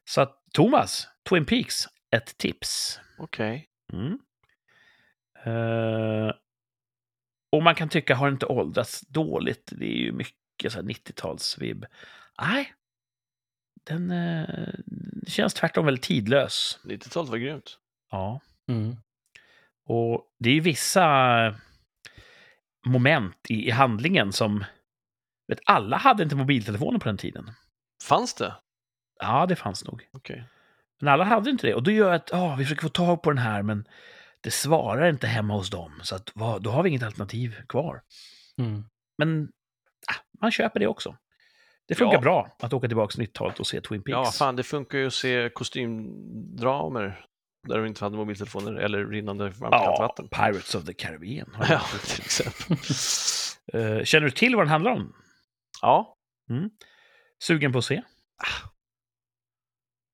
Så att, Thomas, Twin Peaks, ett tips. Okej. Mm. Eh, och man kan tycka, har det inte åldrats dåligt? Det är ju mycket så här 90-talsvibb. Nej, den eh, känns tvärtom väldigt tidlös. 90-talet var grymt. Ja. Mm. Och det är ju vissa moment i, i handlingen som... Vet, alla hade inte mobiltelefoner på den tiden. Fanns det? Ja, det fanns nog. Okej. Men alla hade inte det. Och då gör jag att ja, vi försöker få tag på den här, men det svarar inte hemma hos dem. Så att, vad, då har vi inget alternativ kvar. Mm. Men ah, man köper det också. Det funkar Ja. bra att åka tillbaka till 90-talet och se Twin Ja, Peaks. fan, det funkar ju att se kostymdramer där du inte hade mobiltelefoner eller rinnande varmt kallt Ja, vatten. Pirates of the Caribbean. har jag Ja, gjort. till exempel. Eh, Känner du till vad den handlar om? Ja, Sugen på att se? Ah.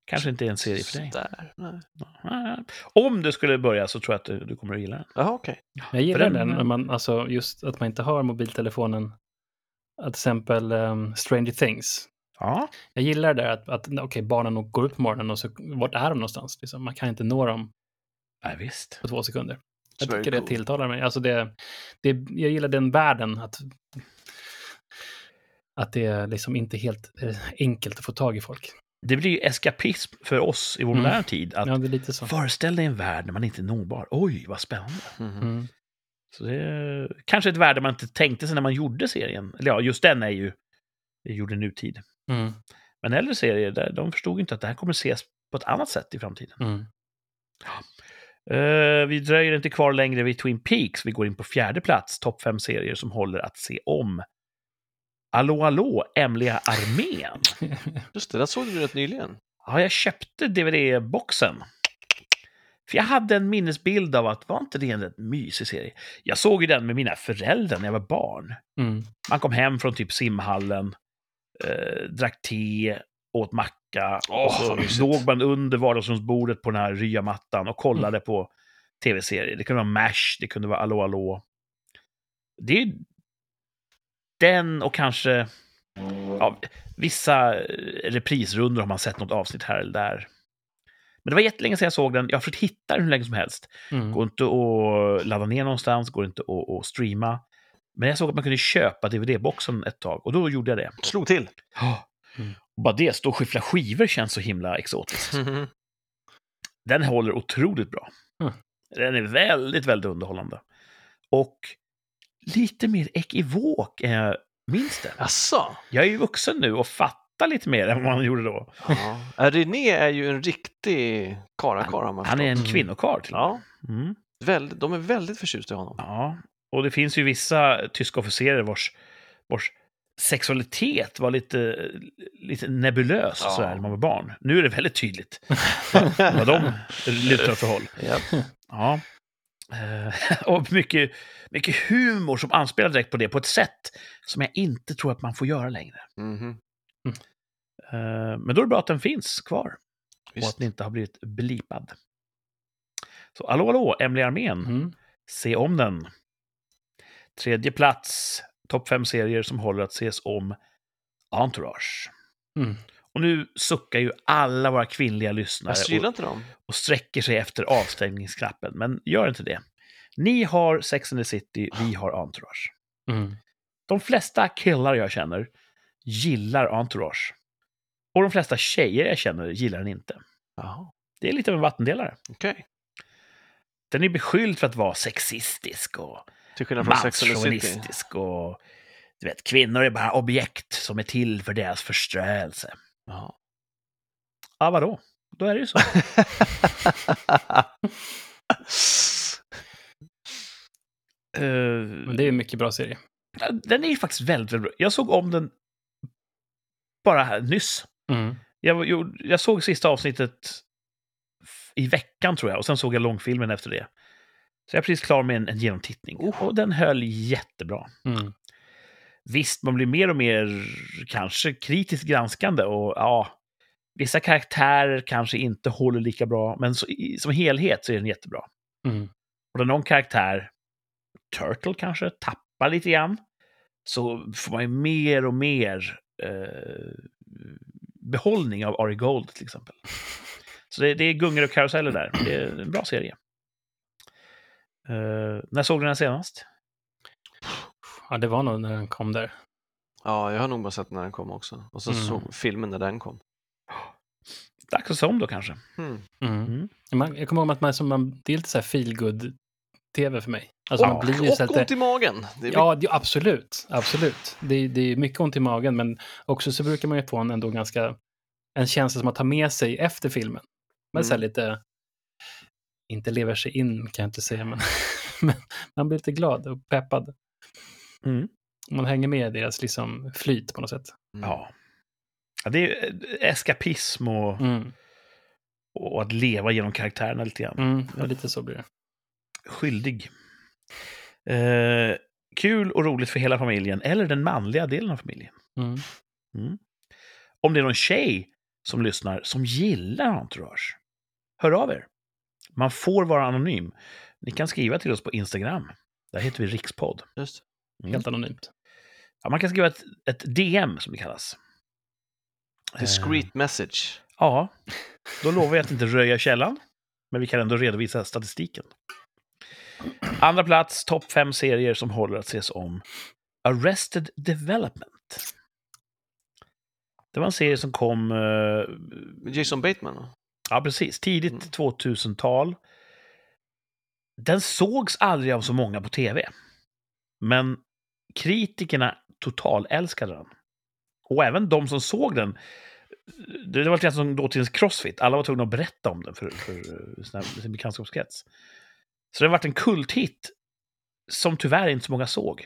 Kanske inte är en serie för dig. Där. Nej. Ah, Om du skulle börja så tror jag att du, du kommer att gilla den. Jaha, okej. Jag gillar För den, den- när man, alltså, just att man inte har mobiltelefonen. Att till exempel ehm, Stranger Things. Ja. Jag gillar det där att, att okej, barnen nog går upp på morgonen och så vart är de någonstans? Liksom? Man kan inte nå dem ja, visst. på två sekunder. Jag It's very tycker cool. det tilltalar mig. Alltså det, det, jag gillar den världen att, att det är liksom inte helt eh, enkelt att få tag i folk. Det blir ju eskapism för oss i vår Mm. moderna tid. Att Ja, det är lite så. Föreställ dig en värld när man inte är nåbar. Oj, vad spännande. Mhm. Mm. Så det är kanske ett värde man inte tänkte sig när man gjorde serien. Eller ja, just den är ju är gjord i nutid. Mm. Men äldre serier, där, de förstod ju inte att det här kommer ses på ett annat sätt i framtiden. Mm. Eh, vi dröjer inte kvar längre vid Twin Peaks. Vi går in på fjärde plats, topp fem serier som håller att se om. Allå, allå, Emliga armén. Just det, den såg du rätt nyligen. Ja, jag köpte DVD-boxen. För jag hade en minnesbild av att, var inte det en rätt mysig serie? Jag såg ju den med mina föräldrar när jag var barn. Mm. Man kom hem från typ simhallen, eh, drack te, åt macka Åh, och så vad mysigt. låg man under vardagsrumsbordet på den här ryamattan och kollade på tv-serier. Det kunde vara MASH, det kunde vara Allo Allo. Det är ju den och kanske ja, vissa eh, reprisrundor har man sett något avsnitt här eller där. Men det var jättelänge sedan jag såg den. Jag har försökt hitta den hur länge som helst. Mm. Går inte att ladda ner någonstans, går inte att, att streama. Men jag såg att man kunde köpa DVD-boxen ett tag och då gjorde jag det. Slog till. Mm. Och bara det, stå och skyffla skivor känns så himla exotiskt. Den håller otroligt bra. Mm. Den är väldigt, väldigt underhållande. Och lite mer ekivok än jag minns den. Jaså? Jag är ju vuxen nu och fattar lite mer än vad man gjorde då. Ja. René är ju en riktig karakar har man Han är en förstått. Mm. kvinnokarl till och Ja, med. mm. väldigt, de är väldigt förtjusta i honom. Ja, och det finns ju vissa tyska officerare vars, vars sexualitet var lite, lite nebulös Ja. sådär, när man var barn. Nu är det väldigt tydligt vad de lutar åt för håll. Japp. Ja. Eh, Och mycket, mycket humor som anspelar direkt på det, på ett sätt som jag inte tror att man får göra längre. Mhm, Eh, Men då är det bra att den finns kvar och att visst. den inte har blivit blipad. Så hallå, hallå, Emily Armén. Mm. Se om den. Tredje plats, topp fem serier som håller att ses om, Entourage. Mm. Och nu suckar ju alla våra kvinnliga lyssnare Jag gillar och, inte dem. och sträcker sig efter avstängningsknappen, men gör inte det. Ni har Sex and the City, vi har Entourage. Mm. De flesta killar jag känner gillar Entourage. Och de flesta tjejer jag känner gillar den inte. Jaha, Det är lite av en vattendelare. okej. Den är beskylld för att vara sexistisk och Till skillnad från Sex and the City. mansjournalistisk och du vet, kvinnor är bara objekt som är till för deras förströelse. Ja. Ja, vadå? Då är det ju så. Eh, Men det är ju mycket bra serie. Eh, Den är ju faktiskt väldigt, väldigt bra. Jag såg om den bara här nyss. Mm. Jag, var- gjorde- jag såg sista avsnittet f- i veckan tror jag och sen såg jag långfilmen efter det. Så jag är precis klar med en, en genomtittning. Oh. Och den höll jättebra. Mm. Visst, man blir mer och mer kanske kritiskt granskande och ja, vissa karaktärer kanske inte håller lika bra, men så, i, som helhet så är den jättebra. Mm. Och när någon karaktär, Turtle kanske, tappar lite grann, så får man ju mer och mer eh, behållning av Ari Gold till exempel. Så det, det är gungor och karuseller där. Det är en bra serie. Eh, när såg du den senast? Ja, det var nog när den kom där. ja, jag har nog bara sett när den kom också. Och så Mm. såg filmen när den kom. Dags att se om då kanske. Hmm. Mm. Mm. Man, jag kommer ihåg att man, som man, det är lite så här feel good tv för mig. Alltså man och blir ju så att och det, ont i magen! Det är Ja, det, absolut. absolut. Det, är- det är mycket ont i magen, men också så brukar man ju få en ändå ganska en känsla som man tar med sig efter filmen. Men så här Mm. lite, inte lever sig in kan jag inte säga, men, men man blir lite glad och peppad. Mm. Man hänger med i deras liksom flyt på något sätt. Mm. Ja. ja det är ju eh, eskapism och, Mm. och att leva genom karaktärerna lite grann. Mm. Ja, lite så blir det. Skyldig. Eh, kul och roligt för hela familjen, eller den manliga delen av familjen. Mm. Om det är någon tjej som lyssnar som gillar Entourage, hör av er. Man får vara anonym. Ni kan skriva till oss på Instagram. Där heter vi Rikspodd. Mm. Just. Helt anonymt. Ja, man kan skriva ett, ett DM, som det kallas. Eh, Discreet message. Ja, då lovar jag att inte röja källan, men vi kan ändå redovisa statistiken. Andra plats, topp fem serier som håller att ses om. Arrested Development. Det var en serie som kom, eh, Jason Bateman? va? ja precis, tidigt Mm. 2000-tal. Den sågs aldrig av så många på tv. Men kritikerna totalälskade den. Och även de som såg den, det det var lite grann som dåtidens Crossfit, alla var tvungna att berätta om den för, för eh, sina, sin bekantskapskrets. Så den vart en kulthit som tyvärr inte så många såg.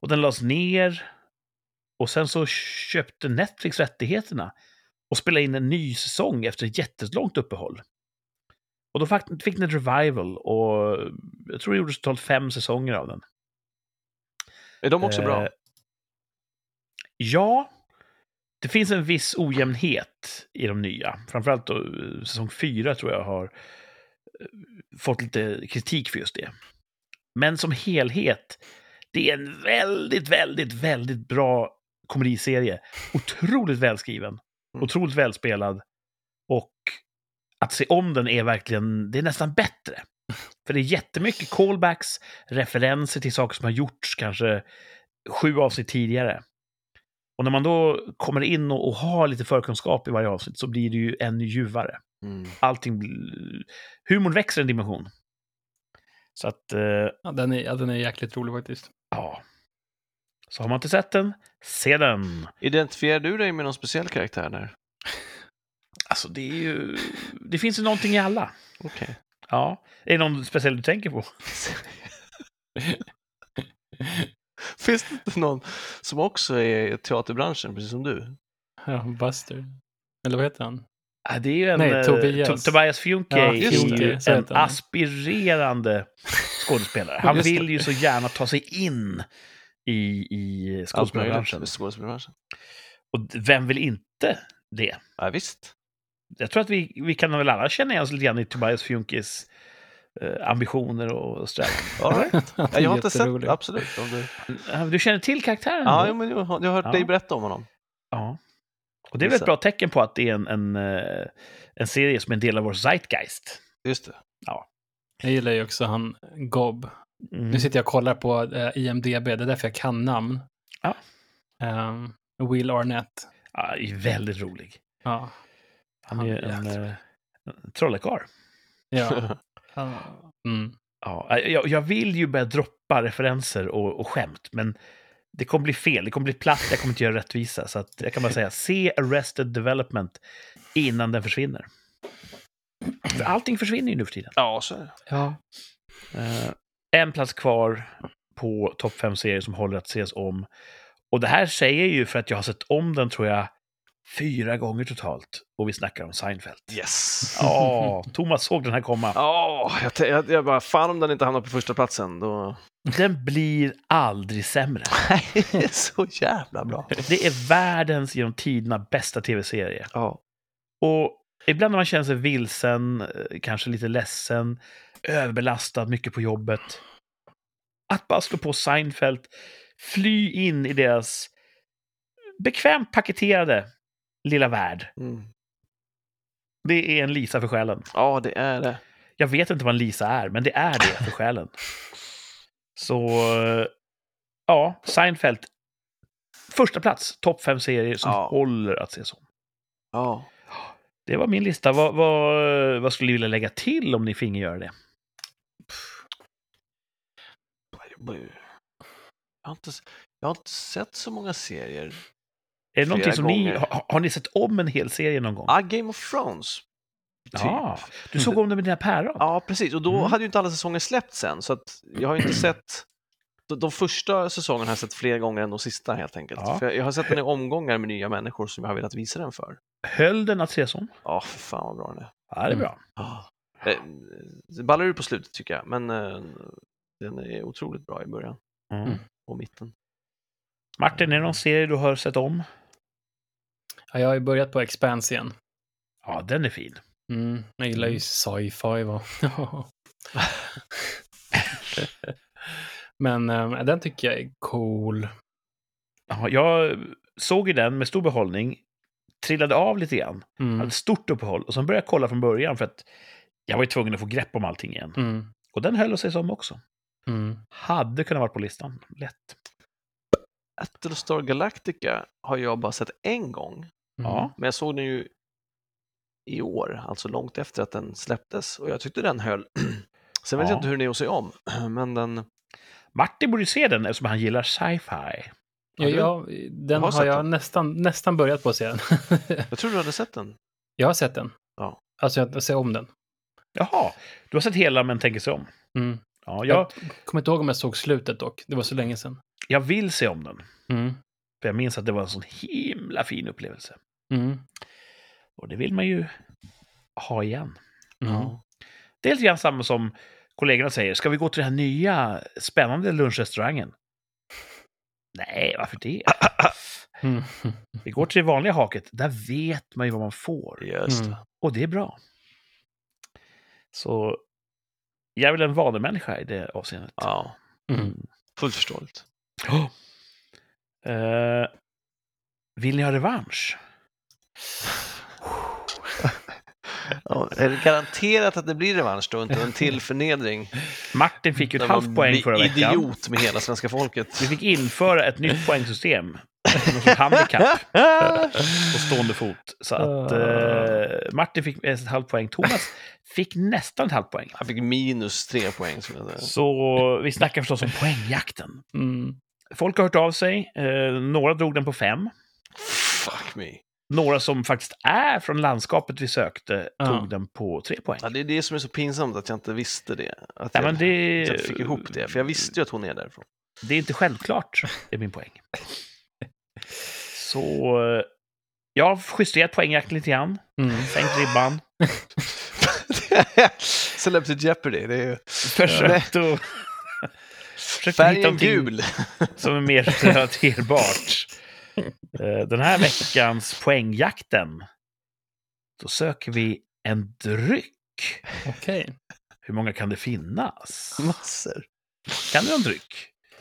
Och den lades ner och sen så köpte Netflix rättigheterna och spelade in en ny säsong efter ett jättelångt uppehåll. Och då fakt- fick den ett revival och eh, jag tror det gjordes totalt fem säsonger av den. Är de också bra? Eh, Ja, det finns en viss ojämnhet i de nya. Framförallt då, eh, säsong fyra tror jag har eh, fått lite kritik för just det. Men som helhet, det är en väldigt, väldigt, väldigt bra komediserie. Otroligt välskriven, Mm. otroligt välspelad och att se om den är verkligen, det är nästan bättre. För det är jättemycket callbacks, referenser till saker som har gjorts kanske sju avsnitt tidigare. Och när man då kommer in och, och har lite förkunskap i varje avsnitt så blir det ju ännu djuvare. Mm. Allting... bl- Humorn växer en dimension. Så att, eh, Ja, den, är, ja, den är jäkligt rolig faktiskt. ja. Så har man inte sett den, se den! Identifierar du dig med någon speciell karaktär där? Alltså det är ju... Det finns ju någonting i alla. Okej. Ja. Är det någon speciell du tänker på? Finns det inte någon som också är i teaterbranschen, precis som du? Ja, Buster. Eller vad heter han? Ja, det är ju en... Nej, eh, Tobias. To- Tobias Fjunkey Ja, är just det. ju Så en heter han. aspirerande skådespelare. Han Just det. vill ju så gärna ta sig in i, i Allt möjligt skådespelarbranschen. med Skådespelarbranschen. Och vem vill inte det? Ja, visst. jag tror att vi, vi kan väl alla känna igen oss lite grann i Tobias Fjunkis eh, ambitioner och strävan. All right. Ja, jag har inte sett Jätterolig. absolut. Om du... Eh, Du känner till karaktären? Ja, då? jo, men jag har jag har hört Ja. dig berätta om honom. ja. Och det är väl ett bra tecken på att det är en, en, eh, en serie som är en del av vår zeitgeist. Just det. Jag gillar ju också han Gob. Mm. Nu sitter jag och kollar på eh, IMDB, det är därför jag kan namn. Ja. Ehm, Will Arnett. Ja, är väldigt rolig. Ja. Han är ju en, jäklar. eh, en trollekarl. ja. Han, mm. Ja, eh, jag, jag vill ju börja droppa referenser och, och skämt, men det kommer bli fel. Det kommer bli platt, jag kommer inte göra rättvisa. Så att jag kan bara säga, se Arrested Development innan den försvinner. För allting försvinner ju nu för tiden. ja, så är det. ja. Eh, en plats kvar på topp fem serier som håller att ses om. Och det här säger jag ju för att jag har sett om den, tror jag, fyra gånger totalt. Och vi snackar om Seinfeld. Yes! Ja, Thomas såg den här komma. Ja, jag, t- jag, jag bara, fan om den inte hamnar på första platsen då... Den blir aldrig sämre. Nej, det är så jävla bra. Det är världens genom tiderna bästa tv-serie. Ja, Och ibland när man känner sig vilsen, eh, kanske lite ledsen, överbelastad, mycket på jobbet. Att bara slå på Seinfeld, fly in i deras bekvämt paketerade lilla värld. mm. Det är en Lisa för själen. ja det är det. Jag vet inte vad en Lisa är, men det är det för själen. Så, eh, ja, Seinfeld. Första plats, topp fem serier som Ja. håller att ses om. Ja. Det var min lista. Vad, vad, vad skulle ni vilja lägga till om ni finge göra det? Jag har, inte, jag har inte sett så många serier. Är det någonting som ni, gånger. har, har ni sett om en hel serie någon gång? Ah, Game of Thrones. Typ. Ja, du såg om det med dina päron? Ja, precis. Och då Mm. hade ju inte alla säsonger släppts än, så att jag har ju inte sett... De, de första säsongerna har jag sett fler gånger än de sista helt enkelt. Ja. För jag, jag har sett den i omgångar med nya människor som jag har velat visa den för. Höll den att ses om? Ja, för fan vad bra den är. Ja, det är Mm. bra. Ja. Eh, Det ballar ur på slutet tycker jag, men eh, den är otroligt bra i början Mm. Mm. och mitten. Martin, är det någon serie du har sett om? ja, jag har ju börjat på Expanse igen. Ja, den är fin. Mm. Jag gillar ju Mm. sci-fi. Va? Men eh, den tycker jag är cool. Ja, jag såg ju den med stor behållning, trillade av lite grann, Mm. Alltså. hade stort uppehåll och sen började jag kolla från början för att jag var ju tvungen att få grepp om allting igen. Mm. Och den höll att ses om också. Mm. Hade kunnat vara på listan, lätt. Battlestar Galactica har jag bara sett en gång, Mm. Ja. men jag såg den ju i år, alltså långt efter att den släpptes och jag tyckte den höll. Sen vet Ja. jag inte hur den är att se om, men den... Martin borde ju se den eftersom han gillar sci-fi. Ja, du- jag, den har har, sett jag den. nästan, nästan börjat på att se den. Jag tror du hade sett den. jag har sett den. Ja. Alltså jag ser om den. Jaha, du har sett hela men tänker sig om. Mm. Ja, jag, Jag kommer inte ihåg om jag såg slutet dock. Det var så länge sedan. jag vill se om den. Mm. För jag minns att det var en sån himla fin upplevelse. Mm. Mm. Och det vill man ju ha igen. Det är lite grann samma som kollegorna säger. Ska vi gå till den här nya spännande lunchrestaurangen? Nej, varför det? Mm. Vi går till det vanliga haket. Där vet man ju vad man får. Just det. Och det är bra. Så jag är väl en vanemänniska i det avseendet. Ja, Mm. fullt förståeligt. Ja. Eh, vill ni ha revansch? Ja, är det garanterat att det blir revansch då, inte en till förnedring? Martin fick ju ett När halvt man poäng blir förra veckan. idiot med hela svenska folket. Vi fick införa ett nytt poängsystem. Någon sorts handikapp på stående fot. Så Ah. att eh, Martin fick ett halvt poäng. Thomas fick nästan ett halvt poäng. Han fick minus tre poäng. Som jag säger. Så vi snackar förstås om poängjakten. Mm. Folk har hört av sig. Eh, några drog den på fem. Fuck me. Några som faktiskt är från landskapet vi sökte Ja. tog den på tre poäng. Ja, det är det som är så pinsamt, att jag inte visste det. Att Ja, jag, men det, att jag inte fick ihop det, för jag visste ju att hon är därifrån. det är inte självklart, är min poäng. Så eh, jag har justerat poängjakten lite grann, Mm. sänkt ribban, Celebrity Jeopardy, det är ju försökt att... Försökt att hitta färgen någonting gul. som är mer relaterbart. Eh, Den här veckans poängjakten, då söker vi en dryck. Okej. Hur många kan det finnas? Massor. Kan du en dryck?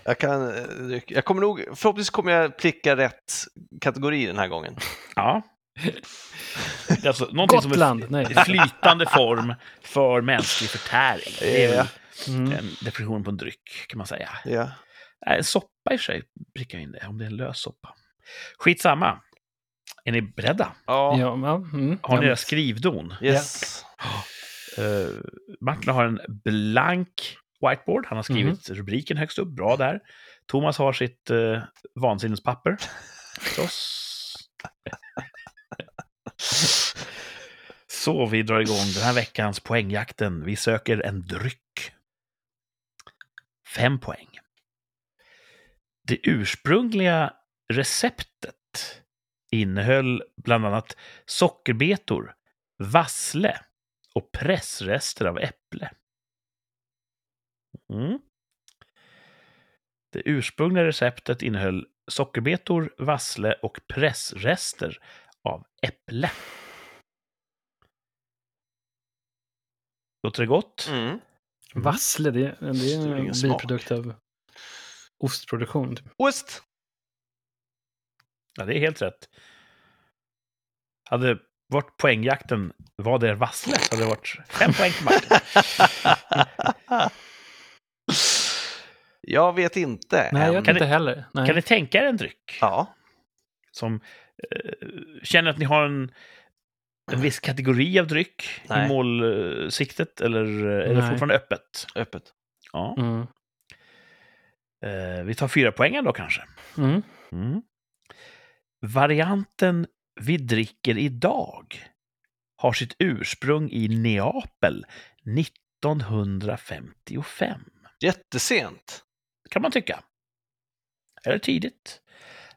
Jag, kan, eh, dryck- jag kommer nog, förhoppningsvis kommer jag pricka rätt kategori den här gången. Ja. Det är Alltså, någonting som är Gotland! Nej. i flytande form för mänsklig förtäring. Det är väl Mm. en definition på en dryck, kan man säga. Ja. Nej, en soppa i och för sig prickar jag in det, om det är en lös soppa. Skitsamma. Är ni beredda? Ja. Ja, ja, mm. Har ni Ja. era skrivdon? Yes. Eh, Martin har en blank whiteboard. Han har skrivit rubriken högst upp. Bra där. Thomas har sitt uh, vansinnespapper. Förstås. Så vi drar igång den här veckans poängjakten. Vi söker en dryck. Fem poäng. Det ursprungliga receptet innehöll bland annat sockerbetor, vassle och pressrester av äpple. Mm. Det ursprungliga receptet innehöll sockerbetor, vassle och pressrester av äpple. Låter det gott? Mm. Vassle, det, det är ingen en smak. biprodukt av ostproduktion. typ. Ost. Ja, det är helt rätt. Hade varit poängjakten, var det vassle, så hade det varit fem poäng till Martin. jag vet inte. Nej, jag vet än. inte heller. Nej. Kan ni tänka er en dryck? Ja. som eh, känner att ni har en, en viss kategori av dryck i Nej. målsiktet? Eller eh, är det Nej. fortfarande öppet? Öppet. Ja. Mm. Eh, vi tar fyra poängen då kanske. Mm. Mm. Varianten vi dricker idag har sitt ursprung i Neapel 1955. Jättesent. Kan man tycka. Eller tidigt.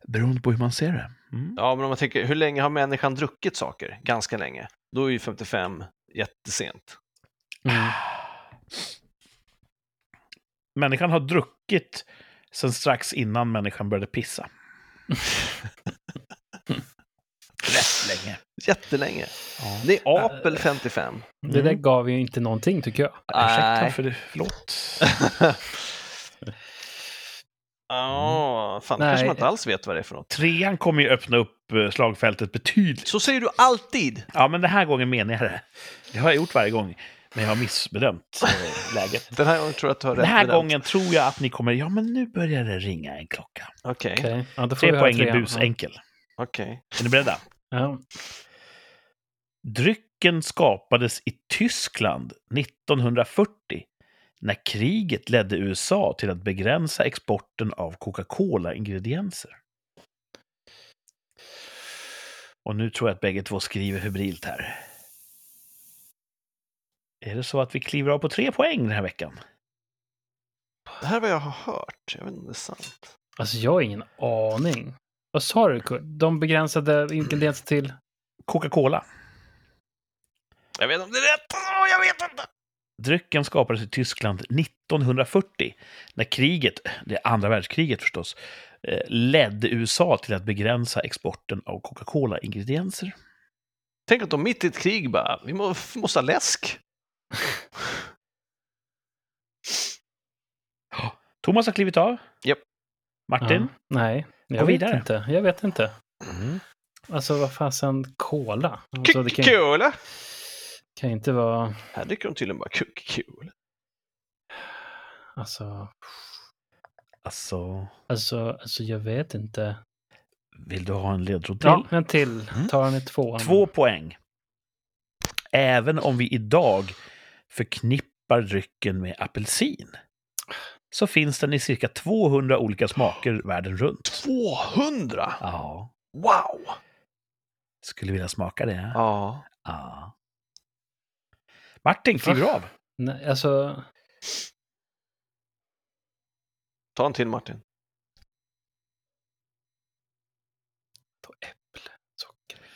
Beroende på hur man ser det. Mm. Ja, men om man tänker, hur länge har människan druckit saker? Ganska länge. Då är ju 55 jättesent. Mm. Människan har druckit sen strax innan människan började pissa. Rätt länge. Jättelänge. Ja. Det är apel 55. Mm. Det där gav ju inte någonting, tycker jag. Ursäkta Nej. för det, förlåt. Ja, Mm. fan, det Nej. kanske man inte alls vet vad det är för något. Trean kommer ju öppna upp eh, slagfältet betydligt. Så säger du alltid. Ja, men den här gången menar jag det. Det har jag gjort varje gång, men jag har missbedömt eh, läget. Den här gången tror jag att du har rätt. Den här med den. gången tror jag att ni kommer, ja men nu börjar det ringa en klocka. Okej, okej. Okej. Ja, då får Tre vi höra poäng i trean. bus, enkel. Är ni beredda? Ja. Drycken skapades i Tyskland 1940 när kriget ledde USA till att begränsa exporten av Coca-Cola-ingredienser. Och nu tror jag att bägge två skriver febrilt här. Är det så att vi kliver av på tre poäng den här veckan? Det här är vad jag har hört. Jag vet inte om det är sant. Alltså, jag har ingen aning. Vad sa du, Kurt? De begränsade ingredienser till... Coca-Cola. Jag vet inte om det är rätt. Åh, jag vet inte. Drycken skapades i Tyskland 1940 när kriget, det andra världskriget förstås, eh, ledde USA till att begränsa exporten av Coca-Cola-ingredienser. Tänk att de mitt i ett krig bara, vi må, måste ha läsk. Thomas har klivit av. Japp. Martin? Ja. Nej, jag Gå vet vidare. inte. Jag vet inte. Mm. Alltså, vad fasen, cola? Alltså, det kan- Coca-Cola. Kan inte vara, Här dyker de tydligen bara kul. kul. alltså, Alltså, alltså, alltså jag vet inte. vill du ha en ledtråd till? Ja, en till. Mm. Tar han i tvåan? Två poäng. Även om vi idag förknippar drycken med apelsin så finns den i cirka 200 olika smaker världen runt. 200! Ja, Wow! skulle vilja smaka det. Ja. Ja. Martin, kliver av. Nej, alltså, Ta en till Martin. ta äpple, socker.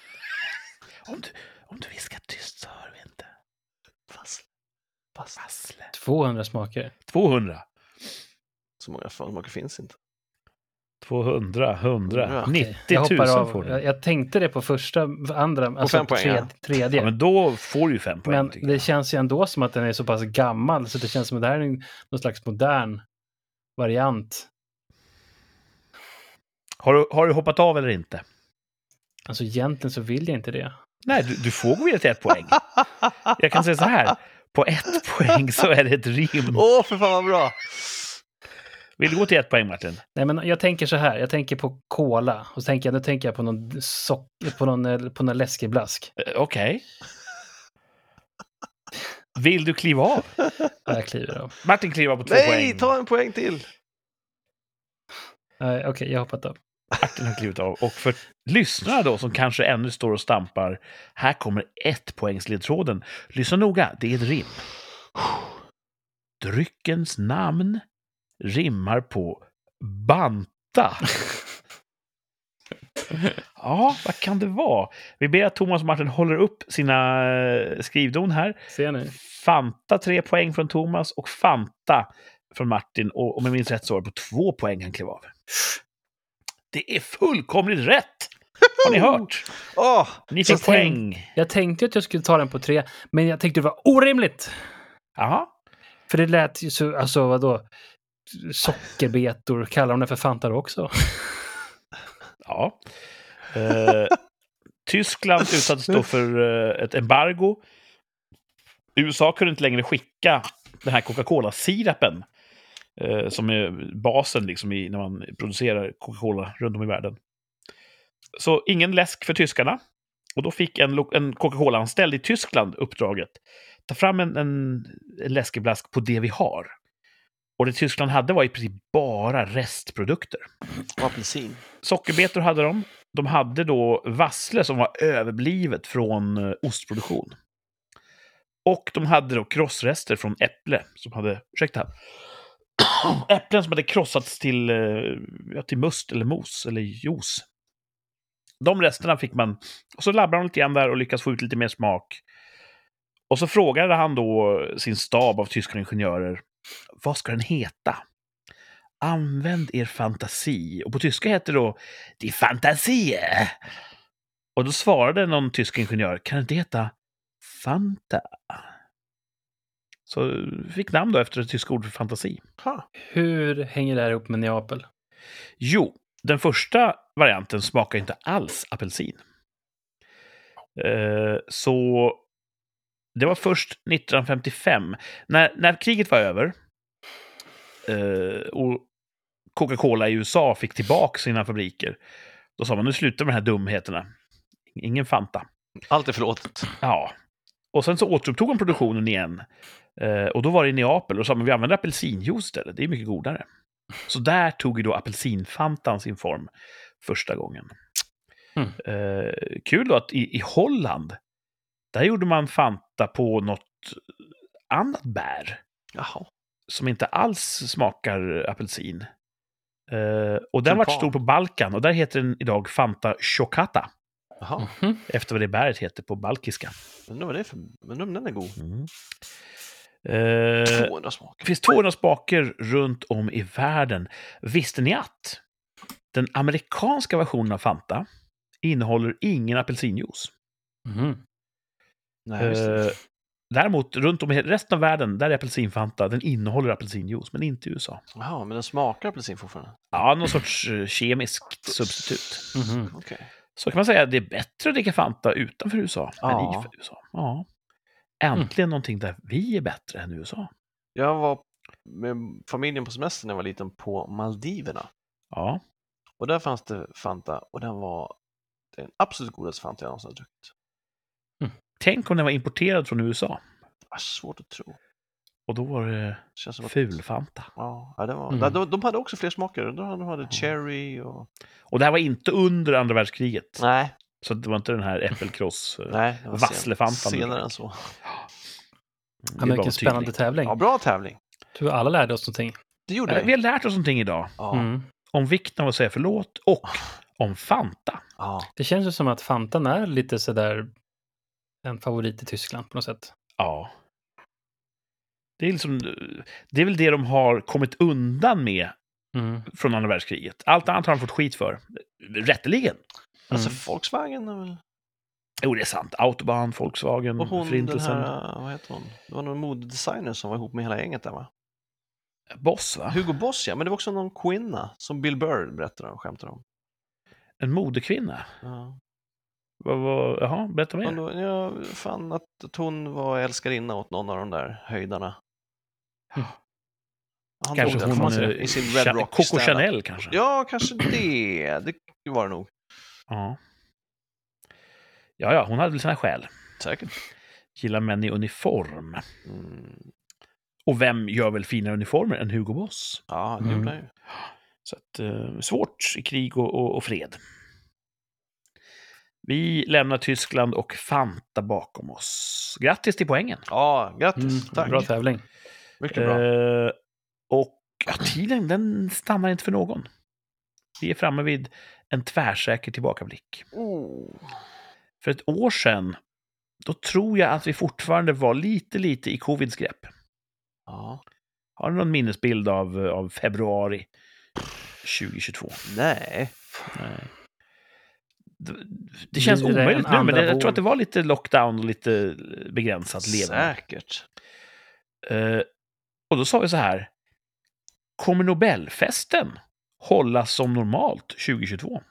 Om du, om du viskar tyst så hör vi inte. Fassle. Ah. Fassle. 200 smaker. 200. Så många smaker finns inte. 200, 100, Okej, 90 Jag 000 hoppar av. får du. Jag, jag tänkte det på första, andra, alltså fem poäng, tred, ja. tredje. Ja, men då får du ju fem poäng. Men tycker det jag. känns ju ändå som att den är så pass gammal så det känns som att det här är en- någon slags modern variant. Har, du, har du hoppat av eller inte? Alltså egentligen så vill jag inte det. Nej, du, du får gå vidare till ett poäng. Jag kan säga så här. På ett poäng så är det ett rim. Åh, för fan vad bra! Vill du gå till ett poäng, Martin? Nej, men jag tänker så här. Jag tänker på cola och så tänker jag, nu tänker jag på någon socker, på någon, eh, på någon läskig blask. Eh, Okej. Vill du kliva av? Ja, jag kliver av. Martin kliver av på två Nej, poäng. ta en poäng till! Nej, Okej, jag har hoppat av. Martin har klivit av. Och för lyssnarna då, som kanske ännu står och stampar. Här kommer ett poängsledtråden. Lyssna noga, det är ett rim. Dryckens namn rimmar på banta. Ja, vad kan det vara? Vi ber att Thomas och Martin håller upp sina eh, skrivdon här. Ser ni? Fanta tre poäng från Thomas och Fanta från Martin. Och om jag minns rätt så var det på två poäng han klev av. Det är fullkomligt rätt! Har ni hört? Åh, Ni Så fick poäng. Jag tänkte att jag skulle ta den på tre, men jag tänkte det var orimligt. Jaha. För det lät ju så, alltså vadå? Sockerbetor, kallar de det för fantar också? Ja. Eh, Tyskland utsattes då för eh, ett embargo. USA kunde inte längre skicka den här Coca-Cola-sirapen eh, som är basen liksom i, när man producerar Coca-Cola runt om i världen. Så ingen läsk för tyskarna. Och då fick en, lo- en Coca-Cola-anställd i Tyskland uppdraget ta fram en, en, en läskeblask på det vi har. Och det Tyskland hade var i princip bara restprodukter. och apelsin. Sockerbetor hade de. De hade då vassle som var överblivet från eh, ostproduktion. Och de hade då krossrester från äpple som hade... Ursäkta. Äpplen som hade krossats till, eh, ja, till must eller mos eller juice. De resterna fick man... Och så labbade de lite grann där och lyckades få ut lite mer smak. Och så frågade han då sin stab av tyska ingenjörer. Vad ska den heta? Använd er fantasi. Och på tyska heter det då Die Fantasie. Och då svarade någon tysk ingenjör, kan det inte heta Fanta? Så fick namn då efter det tyska ordet för fantasi. Ha. Hur hänger det här ihop med Neapel? Jo, den första varianten smakar inte alls apelsin. Eh, så det var först 1955, när, när kriget var över eh, och Coca-Cola i USA fick tillbaka sina fabriker. Då sa man nu slutar med de här dumheterna. Ingen Fanta. Allt är förlåtet. Ja. Och sen så återupptog de produktionen igen. Eh, och då var det i Neapel och sa men vi använder apelsinjuice istället, det är mycket godare. Så där tog ju då apelsinfantan sin form första gången. Mm. Eh, kul då att i, i Holland, där gjorde man Fanta på något annat bär Jaha. som inte alls smakar apelsin. Eh, och den vart Tulpan. stor på Balkan och där heter den idag Fanta Chocata, Jaha. Mhm. efter vad det bäret heter på balkiska. Mm. Undrar vad det är för... Undrar om den är god. Eh, 200 Det smaker. finns 200 spaker runt om i världen. Visste ni att den amerikanska versionen av Fanta innehåller ingen apelsinjuice? Mhm. Nej, just det. Eh, Däremot runt om i resten av världen, där är apelsinfanta, den innehåller apelsinjuice, men inte i USA. Jaha, men den smakar apelsin fortfarande? Ja, någon sorts eh, kemiskt substitut. Mhm. Okej. Så kan man säga att det är bättre att dricka Fanta utanför USA än Ja. Mm. i USA. Ja. Äntligen någonting där vi är bättre än USA. Jag var med familjen på semester när jag var liten på Maldiverna Ja, och där fanns det Fanta och den var den absolut godaste Fanta jag någonsin har druckit. tänk om den var importerad från USA. Ah, svårt att tro. Och då var det Känns som att... fulfanta. Ja, ja, det var... Mm. de, de hade också fler smaker. De hade cherry och... Och det här var inte under andra världskriget. Nej, Så det var inte den här äppelkross. eh, nej. det var sen- Vasslefantan. Senare än så. det Ja, var men vilken tydligt. spännande tävling. Ja, bra tävling. Tror alla lärde oss någonting. Det gjorde Ja, Vi vi. har lärt oss någonting idag. Ja, Mm. Om vikten av att säga förlåt Ah. och om Fanta. ja. Det känns ju som att Fantan är lite sådär en favorit i Tyskland på något sätt. Ja. Det är, liksom, det är väl det de har kommit undan med Mm. från andra världskriget. Allt annat har de fått skit för. Rätteligen. Alltså Mm. Volkswagen är väl... Jo, det är sant. Autobahn, Volkswagen, Och hon den Mm, Förintelsen. här, vad heter hon? Det var någon modedesigner som var ihop med hela gänget där va? Boss, va? Hugo Boss ja, men det var också någon kvinna som Bill Burr berättade om, skämtade om. En modekvinna. Ja. Vad var... Jaha, berätta Men mer. då, jag fann att, att hon var älskarinna åt någon av de där höjdarna. Mm. Han Kanske dog där, får hon... man får säga. man eh, säga, I sin Red Cha- Rock Coco ställe. Chanel, kanske. Ja, kanske det. Det var det nog. Ja. Ja, ja, hon hade väl sina skäl. Säkert. Gillar män i uniform. Mm. Och vem gör väl finare uniformer än Hugo Boss? Ja, det Mm. gjorde han ju. Så att, eh, svårt i krig och, och, och fred. Vi lämnar Tyskland och Fanta bakom oss. Grattis till poängen! Ja, grattis. Mm. Tack. Bra tävling. Mycket bra. Eh, och ja, tiden, den stannar inte för någon. Vi är framme vid en tvärsäker tillbakablick. Oh. För ett år sedan, då tror jag att vi fortfarande var lite, lite i covids grepp. Ja. Har du någon minnesbild av, av februari 2022? Nej. Nej. Det, det känns Blir det en omöjligt nu, men andra det, jag tror våg? att det var lite lockdown och lite eh, begränsat levande. Säkert. Eh, och då sa vi så här. Kommer Nobelfesten hållas som normalt 2022?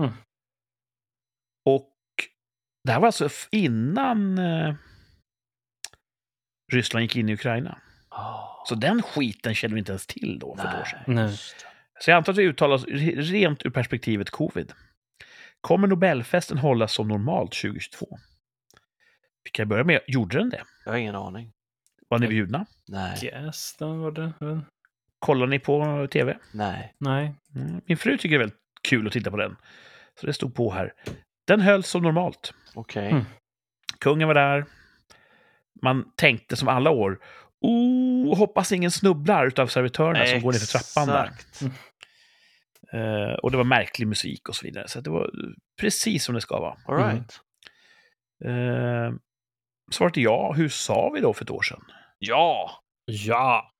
Mm. Och det här var alltså f- innan eh, Ryssland gick in i Ukraina. Oh. Så den skiten kände vi inte ens till då Ah, för ett år sedan. Nej. just det. Så jag antar att vi uttalar oss re- rent ur perspektivet covid. Kommer Nobelfesten hållas som normalt 2022? Vi kan börja med, gjorde den det? Jag har ingen aning. Var ni bjudna? Nej. Yes, den var det. Kollade ni på tv? Nej. Nej. Mm. Min fru tycker det är väldigt kul att titta på den. Så det stod på här. Den hölls som normalt. Okej. Mm. Kungen var där. Man tänkte som alla år. Oh, hoppas ingen snubblar utav servitörerna som går ner för trappan där. Exakt. Mm. Eh, och det var märklig musik och så vidare. Så att det var eh, precis som det ska vara. All right. Eh, svaret är ja. Hur sa vi då för ett år sedan? Ja! Ja.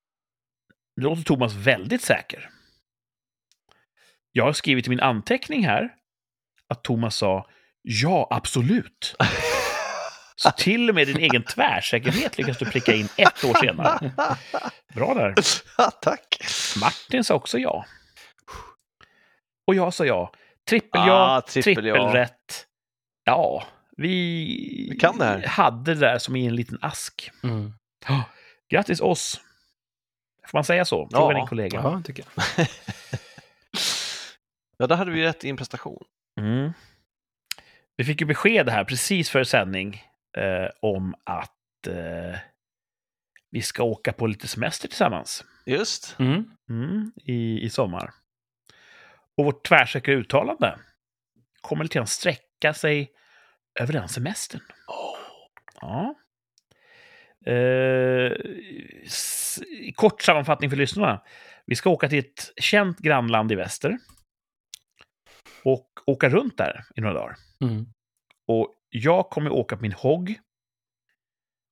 Nu låter Thomas väldigt säker. Jag har skrivit i min anteckning här att Thomas sa ja, absolut. Så till och med din egen tvärsäkerhet lyckas du pricka in ett år senare. Bra där. Tack! Martin sa också ja. Och jag sa ja. Trippel Ah, ja, trippel ja. trippelrätt. Ja, vi, Vi kan det här. hade det där som i en liten ask. Mm. Grattis oss! Får man säga så? Ja. Fråga din kollega. Ja, tycker jag. Ja, där hade vi rätt i en prestation. Mm. Vi fick ju besked här precis före sändning eh, om att eh, vi ska åka på lite semester tillsammans Just. Mm. mm, i, i sommar. Och vårt tvärsäkra uttalande kommer lite grann sträcka sig över den semestern. Ja. Eh, s- i kort sammanfattning för lyssnarna. Vi ska åka till ett känt grannland i väster och åka runt där i några dagar. Mm. Och jag kommer åka på min hogg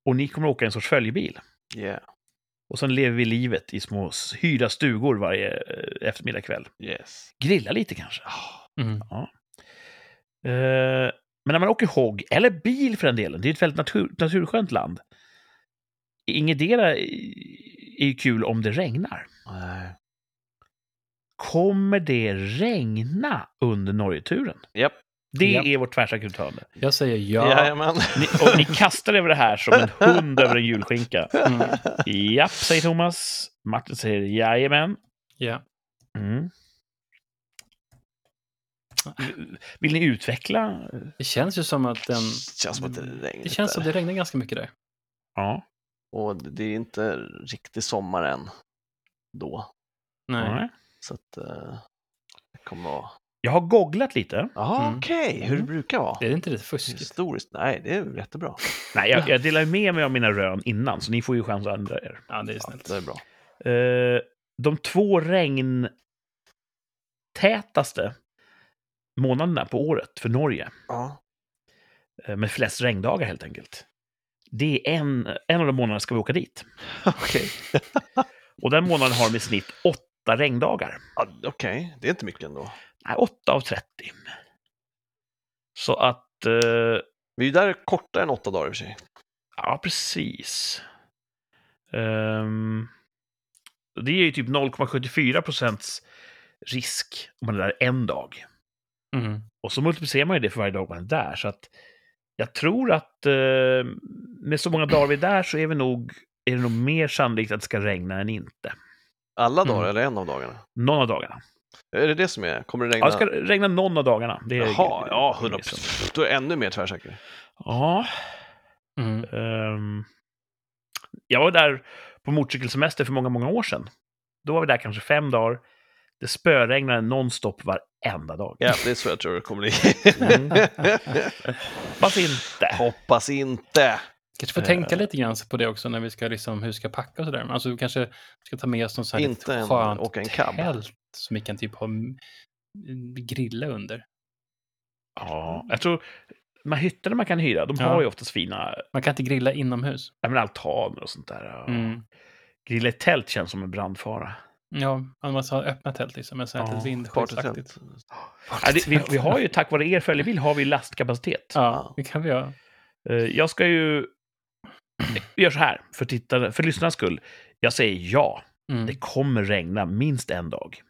och ni kommer åka i en sorts följebil. Yeah. Och sen lever vi livet i små s- hyrda stugor varje eh, eftermiddag kväll. Yes. Grilla lite kanske. Ah, Mm. Eh, men när man åker hogg, eller bil för den delen, det är ju ett väldigt natur, naturskönt land. Ingetdera i- är ju kul om det regnar. Nej. Kommer det regna under Norgeturen? Japp. Det Ja. är vårt tvärsäkerhetshörn. Jag säger ja. Jajamän. Ni, och ni kastar över det här som en hund över en julskinka. Mm. Japp, säger Thomas. Martin säger jajamän. ja. Mm. Vill ni utveckla? Det känns ju som att den... Det känns som att det regnar Det känns som där. att det regnar ganska mycket där. Ja. Och det är inte riktig sommar än då. Nej. ja. Så att eh, det kommer vara... Jag har googlat lite. Jaha, Mm. okej, hur det Mm. brukar vara. Är det inte lite fuskigt? Historiskt? Nej, det är jättebra. Nej, jag, jag delar med mig av mina rön innan, så ni får ju chans att ändra er. Ja, det är Allt snällt. det är bra. Eh, de två regntätaste månaderna på året för Norge, Ja. eh, med flest regndagar helt enkelt, det är en, en av de månaderna ska vi åka dit. Okej, Och den månaden har de i snitt åtta regndagar. Ja, okej. det är inte mycket ändå. Nej, åtta av 30. Så att, eh, Vi är ju där kortare än åtta dagar i och för sig. ja precis. Ehm, det är ju typ 0,74 procents risk om man är där en dag. Mm. Och så multiplicerar man ju det för varje dag man är där. Så att jag tror att eh, med så många dagar vi är där så är, vi nog, är det nog mer sannolikt att det ska regna än inte. Alla Mm. dagar eller en av dagarna? Någon av dagarna. Är det det som är? Kommer det regna? Ja, det ska regna någon av dagarna. Det är Jaha, ja, 100 liksom. procent. Då är jag ännu mer tvärsäker. Ja. Mm. ehm, jag var där på motorcykelsemester för många, många år sedan. Då var vi där kanske fem dagar. Det spöregnade nonstop varenda dag. Ja, det är så jag tror det kommer bli. Hoppas inte. Hoppas inte. Kanske får Eh. tänka lite grann på det också när vi ska liksom, hur vi ska packa och sådär. Men Alltså vi kanske ska ta med oss något så här Inte lite en- skönt åka en cab. tält som vi kan typ ha m- grilla under. Ja, jag tror de här hytterna man kan hyra, de Ja. har ju oftast fina Man kan inte grilla inomhus. Ja, men altaner och sånt där. och Mm. Grilla i tält känns som en brandfara. Ja, man måste ha öppna tält liksom. Men så här Ja, ett Partytält. vindskyddsaktigt. Ja, det, vi, vi har ju tack vare er följebil har vi lastkapacitet. Ja, det kan vi göra. Eh, Jag ska ju... Vi gör så här, för, tittare, för lyssnarnas skull. Jag säger ja, det Mm. kommer regna minst en dag.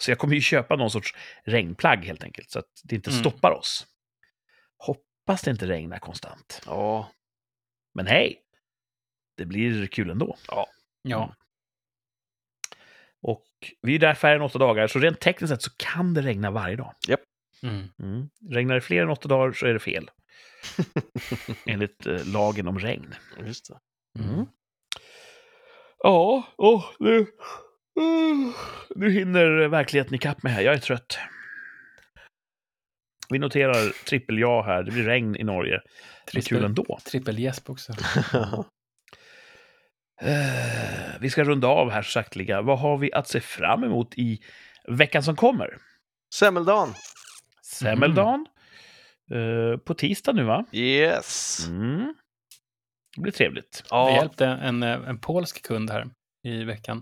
Så jag kommer ju köpa någon sorts regnplagg helt enkelt, så att det inte Mm. stoppar oss. Hoppas det inte regnar konstant. Ja, Men hej, det blir kul ändå. Ja, Och vi är där färre än åtta dagar, så rent tekniskt sett så kan det regna varje dag. mm. Mm. Regnar det fler än åtta dagar så är det fel. Enligt eh, lagen om regn. just det. Mm. Ja, åh, nu, uh, nu hinner verkligheten ikapp mig här. Jag är trött. Vi noterar trippel-ja här. Det blir regn i Norge. Det är kul Trippel, ändå. trippelgäsp också. Eh, vi ska runda av här så sakteliga. Vad har vi att se fram emot i veckan som kommer? Semmeldagen. Semmeldagen. Eh, på tisdag nu, va? Yes. Mm. Det blir trevligt. Vi Ja. hjälpte en, eh, en polsk kund här i veckan.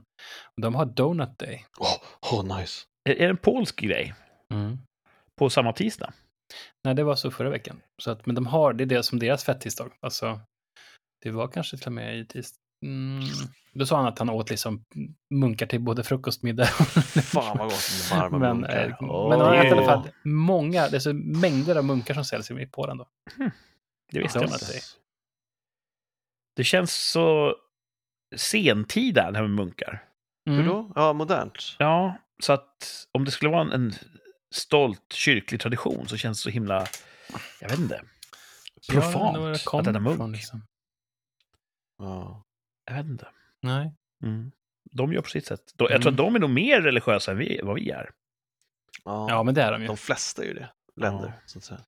Och De har Donut Day. Åh, åh, nice. Är är det en polsk grej? Mm. på samma tisdag. Nej, det var så förra veckan. Så att, men de har, det är det som deras fettisdag. Alltså, det var kanske till och med i tisdag. Mm. Då sa han att han åt liksom munkar till både frukost, middag och Fan vad gott med varma men, munkar. eh, Åh. men de har ätit i alla fall många, det är så mängder av munkar som säljs i Polen då. Det visste jag Donut inte. Day. Det känns så sentida det här med munkar. Hur Mm. då? Ja, modernt. Ja, så att om det skulle vara en, en stolt kyrklig tradition så känns det så himla, jag vet inte, Jag vet inte var det profant kom att äta munk. ifrån, liksom. Ja. Jag vet inte. Nej. Mm. De gör på sitt sätt. De, jag Mm. tror att de är nog mer religiösa än vi, vad vi är. Ja. Mm. Ja, men det är de ju. De flesta är ju det. Länder, så att säga.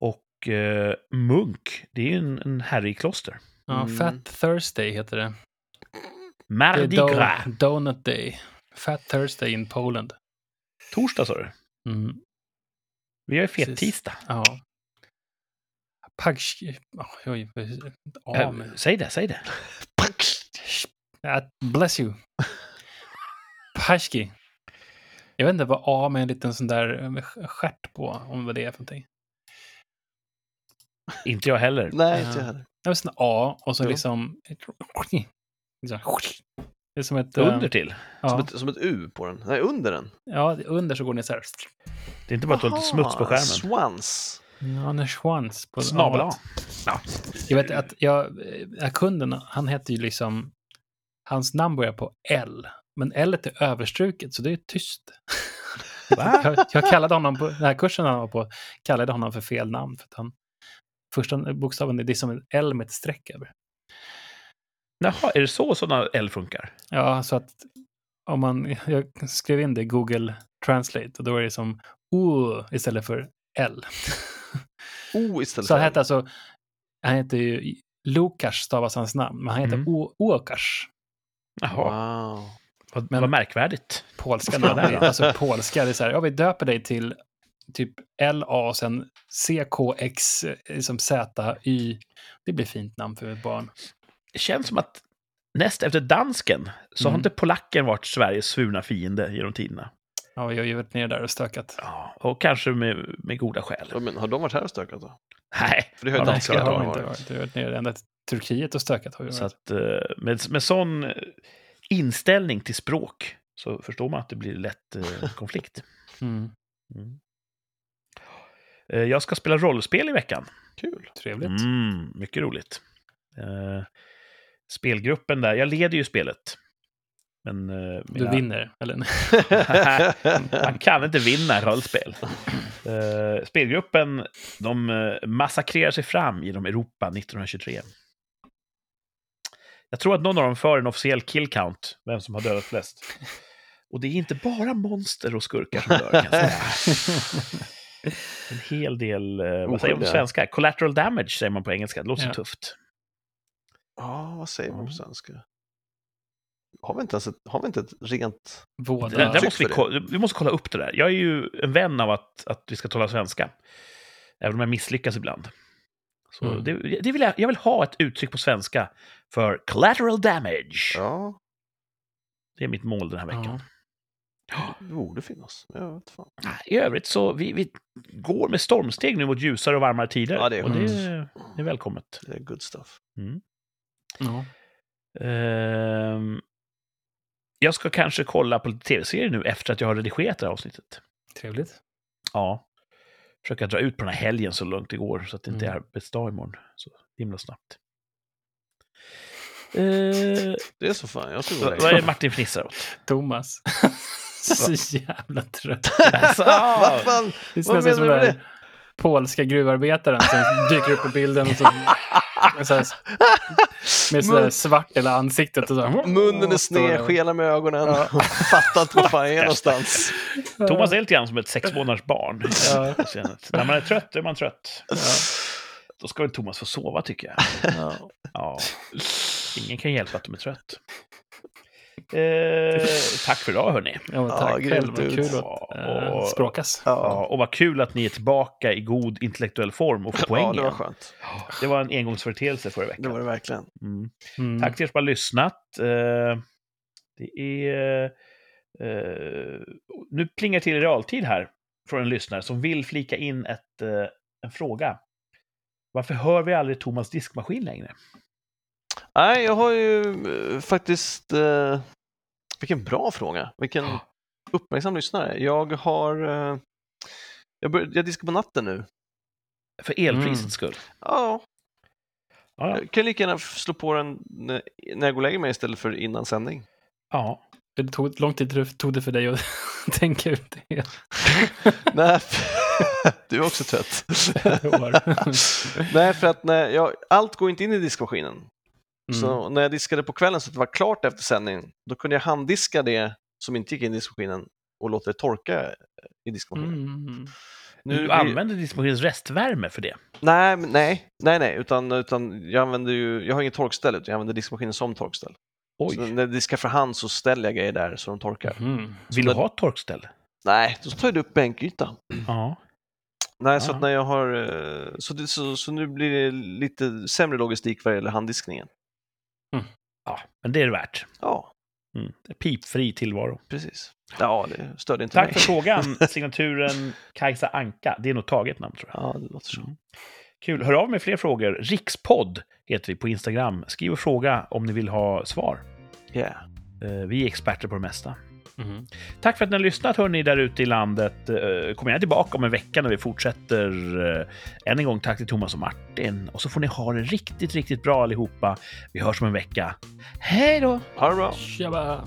Och eh, munk, det är ju en, en herre i kloster. Ja, Mm. Fat Thursday heter det. Det är Mardi Gras. do- Donut Day. Fat Thursday in Poland. Torsdag sa du. Mm. Vi har ju Precis. fettisdag. Ja. Pagsk... Oj, oj, Eh, av med- säg det, säg det. Ja, Bless you. Pashki. Jag vet inte vad A med en liten sån där eh, stjärt på, om vad det är för någonting. Inte jag heller. Nej, Ja. inte jag heller. liksom, Det var sån A och så Jo. liksom... liksom Det är som ett... eh, Under till. Som, Ja, ett, som ett U på den. Nej, under den. ja, under så går ni så här. Det är inte bara att du har lite smuts på Aha, skärmen. Swans. Ja, en chans på... Snabel A. Jag vet att jag, eh, kunden, han heter ju liksom... Hans namn börjar på L, men L är överstruket, så det är tyst. Va? Jag, jag kallade honom på den här kursen han var på, kallade honom för fel namn. För att han, första bokstaven, det är som ett L med ett streck över. Jaha, är det så sådana L funkar? Ja, så att om man, jag skrev in det i Google Translate och då är det som O istället för L. O istället Så han för heter alltså, han heter ju Lukas stavas hans namn, men han heter Mm. O Okas. Jaha, Wow. vad, Men- vad märkvärdigt. polska Ja, namn. där då. alltså polska, det är så här, ja vi döper dig till typ LA och sen CKX, eh, liksom ZY. Det blir fint namn för ett barn. Det känns som att näst efter dansken så har Mm. inte polacken varit Sveriges svurna fiende genom tiderna. Ja, vi har ju varit nere där och stökat. Ja, och kanske med, med goda skäl. Ja, Men har de varit här och stökat då? Nej, För det har Ja, ju Nej, det danskarna har har vi inte varit. varit. Vi har varit nere ända till Turkiet och stökat. Har vi så varit. att eh, med, med sån eh, inställning till språk så förstår man att det blir lätt eh, konflikt. Mm, Mm. Eh, Jag ska spela rollspel i veckan. Kul. trevligt. Mm, mycket roligt. Eh, spelgruppen där, jag leder ju spelet. Men eh, Du mina- vinner, eller? nej. man kan inte vinna rollspel. Eh, spelgruppen, de eh, massakrerar sig fram genom Europa 1923. Jag tror att någon av dem för en officiell kill count, vem som har dödat flest. Och det är inte bara monster och skurkar som dör, kan jag säga. En hel del, eh, vad säger man på Oskyldiga. svenska? Collateral damage säger man på engelska, det låter Ja. så tufft. Ja, vad säger man på Ja. svenska? Har vi inte, ens ett, har vi inte ett rent... Det, Våda. där- där Uttryck måste vi, för ko- vi måste kolla upp det där. Jag är ju en vän av att, att vi ska tala svenska. Även om jag misslyckas ibland. Så Mm. det, det vill jag, jag vill ha ett uttryck på svenska för collateral damage. Ja, Det är mitt mål den här veckan. Ah, Ja. det borde finnas. men Jag vet fan. I övrigt så vi, vi går med stormsteg nu mot ljusare och varmare tider. Ja, det är och det, skönt. det är välkommet. Det är good stuff. Ja. Ehm, jag ska kanske kolla på lite tv-serier nu efter att jag har redigerat det här avsnittet. Trevligt. Ja. Försöka dra ut på den här helgen så långt det går så att det inte är Mm. arbetsdag imorgon. Så himla snabbt. Eh, Det är så fan, jag skulle gå vad och vad är lägga det Martin fnissar åt? Thomas. Så jävla trött. Alltså, Vad fan? Det Vad känns som menar den du med där polska gruvarbetaren som dyker upp på bilden och så, med så här, med så där Mun- svart hela ansiktet. Och så, Munnen är Står sned, där. skelar med ögonen. Ja. Fattar inte vad fan jag är någonstans. Thomas är lite grann som ett sex månaders barn. Ja. Jag känner att När man är trött då är man trött. Ja, Då ska väl Thomas få sova tycker jag. ja. Ja. Ingen kan hjälpa att de är trött. Eh, tack för idag hörni. ja, men Ja, tack grymt själv. Vad ut. kul att Ja, äh, och- språkas. Ja, och vad kul att ni är tillbaka i god intellektuell form och får poäng Ja, det var igen. skönt. Det var en engångsföreteelse förra Det veckan. var det verkligen. Mm. Mm. Tack till er som har lyssnat. Eh, Det är... eh, Nu plingar det till i realtid här från en lyssnare som vill flika in ett, eh, en fråga. Varför hör vi aldrig Thomas diskmaskin längre? Nej, jag har ju eh, faktiskt... Eh, vilken bra fråga. Vilken uppmärksam lyssnare. Jag har... Eh, jag, bör, jag diskar på natten nu. För elprisets Mm. skull. Ja, Ja, ja. jag kan lika gärna f- slå på den när när jag går och lägger mig istället för innan sändning. ja. Det tog lång tid det- tog det för dig att tänka ut det. Nej, du är också trött. Det var- Nej, för att när jag, allt går inte in i diskmaskinen. Mm. Så när jag diskade på kvällen så att det var klart efter sändningen, då kunde jag handdiska det som inte gick in i diskmaskinen och låta det torka i diskmaskinen. Mm. Du Nu- använder diskmaskinens restvärme för det. Nej, men- nej, nej, nej, utan, utan jag använder ju, jag har inget torkställ utan jag använder diskmaskinen som torkställ. Så Oj, när jag diskar för hand så ställer jag grejer där så de torkar. Mm. vill du ha ett torkställ? Nej, då tar jag upp bänkytan. Ja. Nej, så Ah. att när jag har, eh, så, det, så, så nu blir det lite sämre logistik vad gäller handdiskningen. ja. Men det är det värt. Ja, Mm. Pipfri tillvaro. precis. Ja, det störde inte Tack mig. för frågan, signaturen Kajsa Anka. Det är nog taget namn, tror jag. Ja, det låter så. Mm. Kul. Hör av med fler frågor. Rikspodd heter vi på Instagram. Skriv och fråga om ni vill ha svar. Yeah. Eh, Vi är experter på det mesta. Mm. Tack för att ni har lyssnat hörni där ute i landet. Eh, Kom gärna tillbaka om en vecka när vi fortsätter. Eh, Än en gång tack till Thomas och Martin. Och så får ni ha det riktigt, riktigt bra allihopa. Vi hörs om en vecka. Hej då! Ha det bra. Tjaba!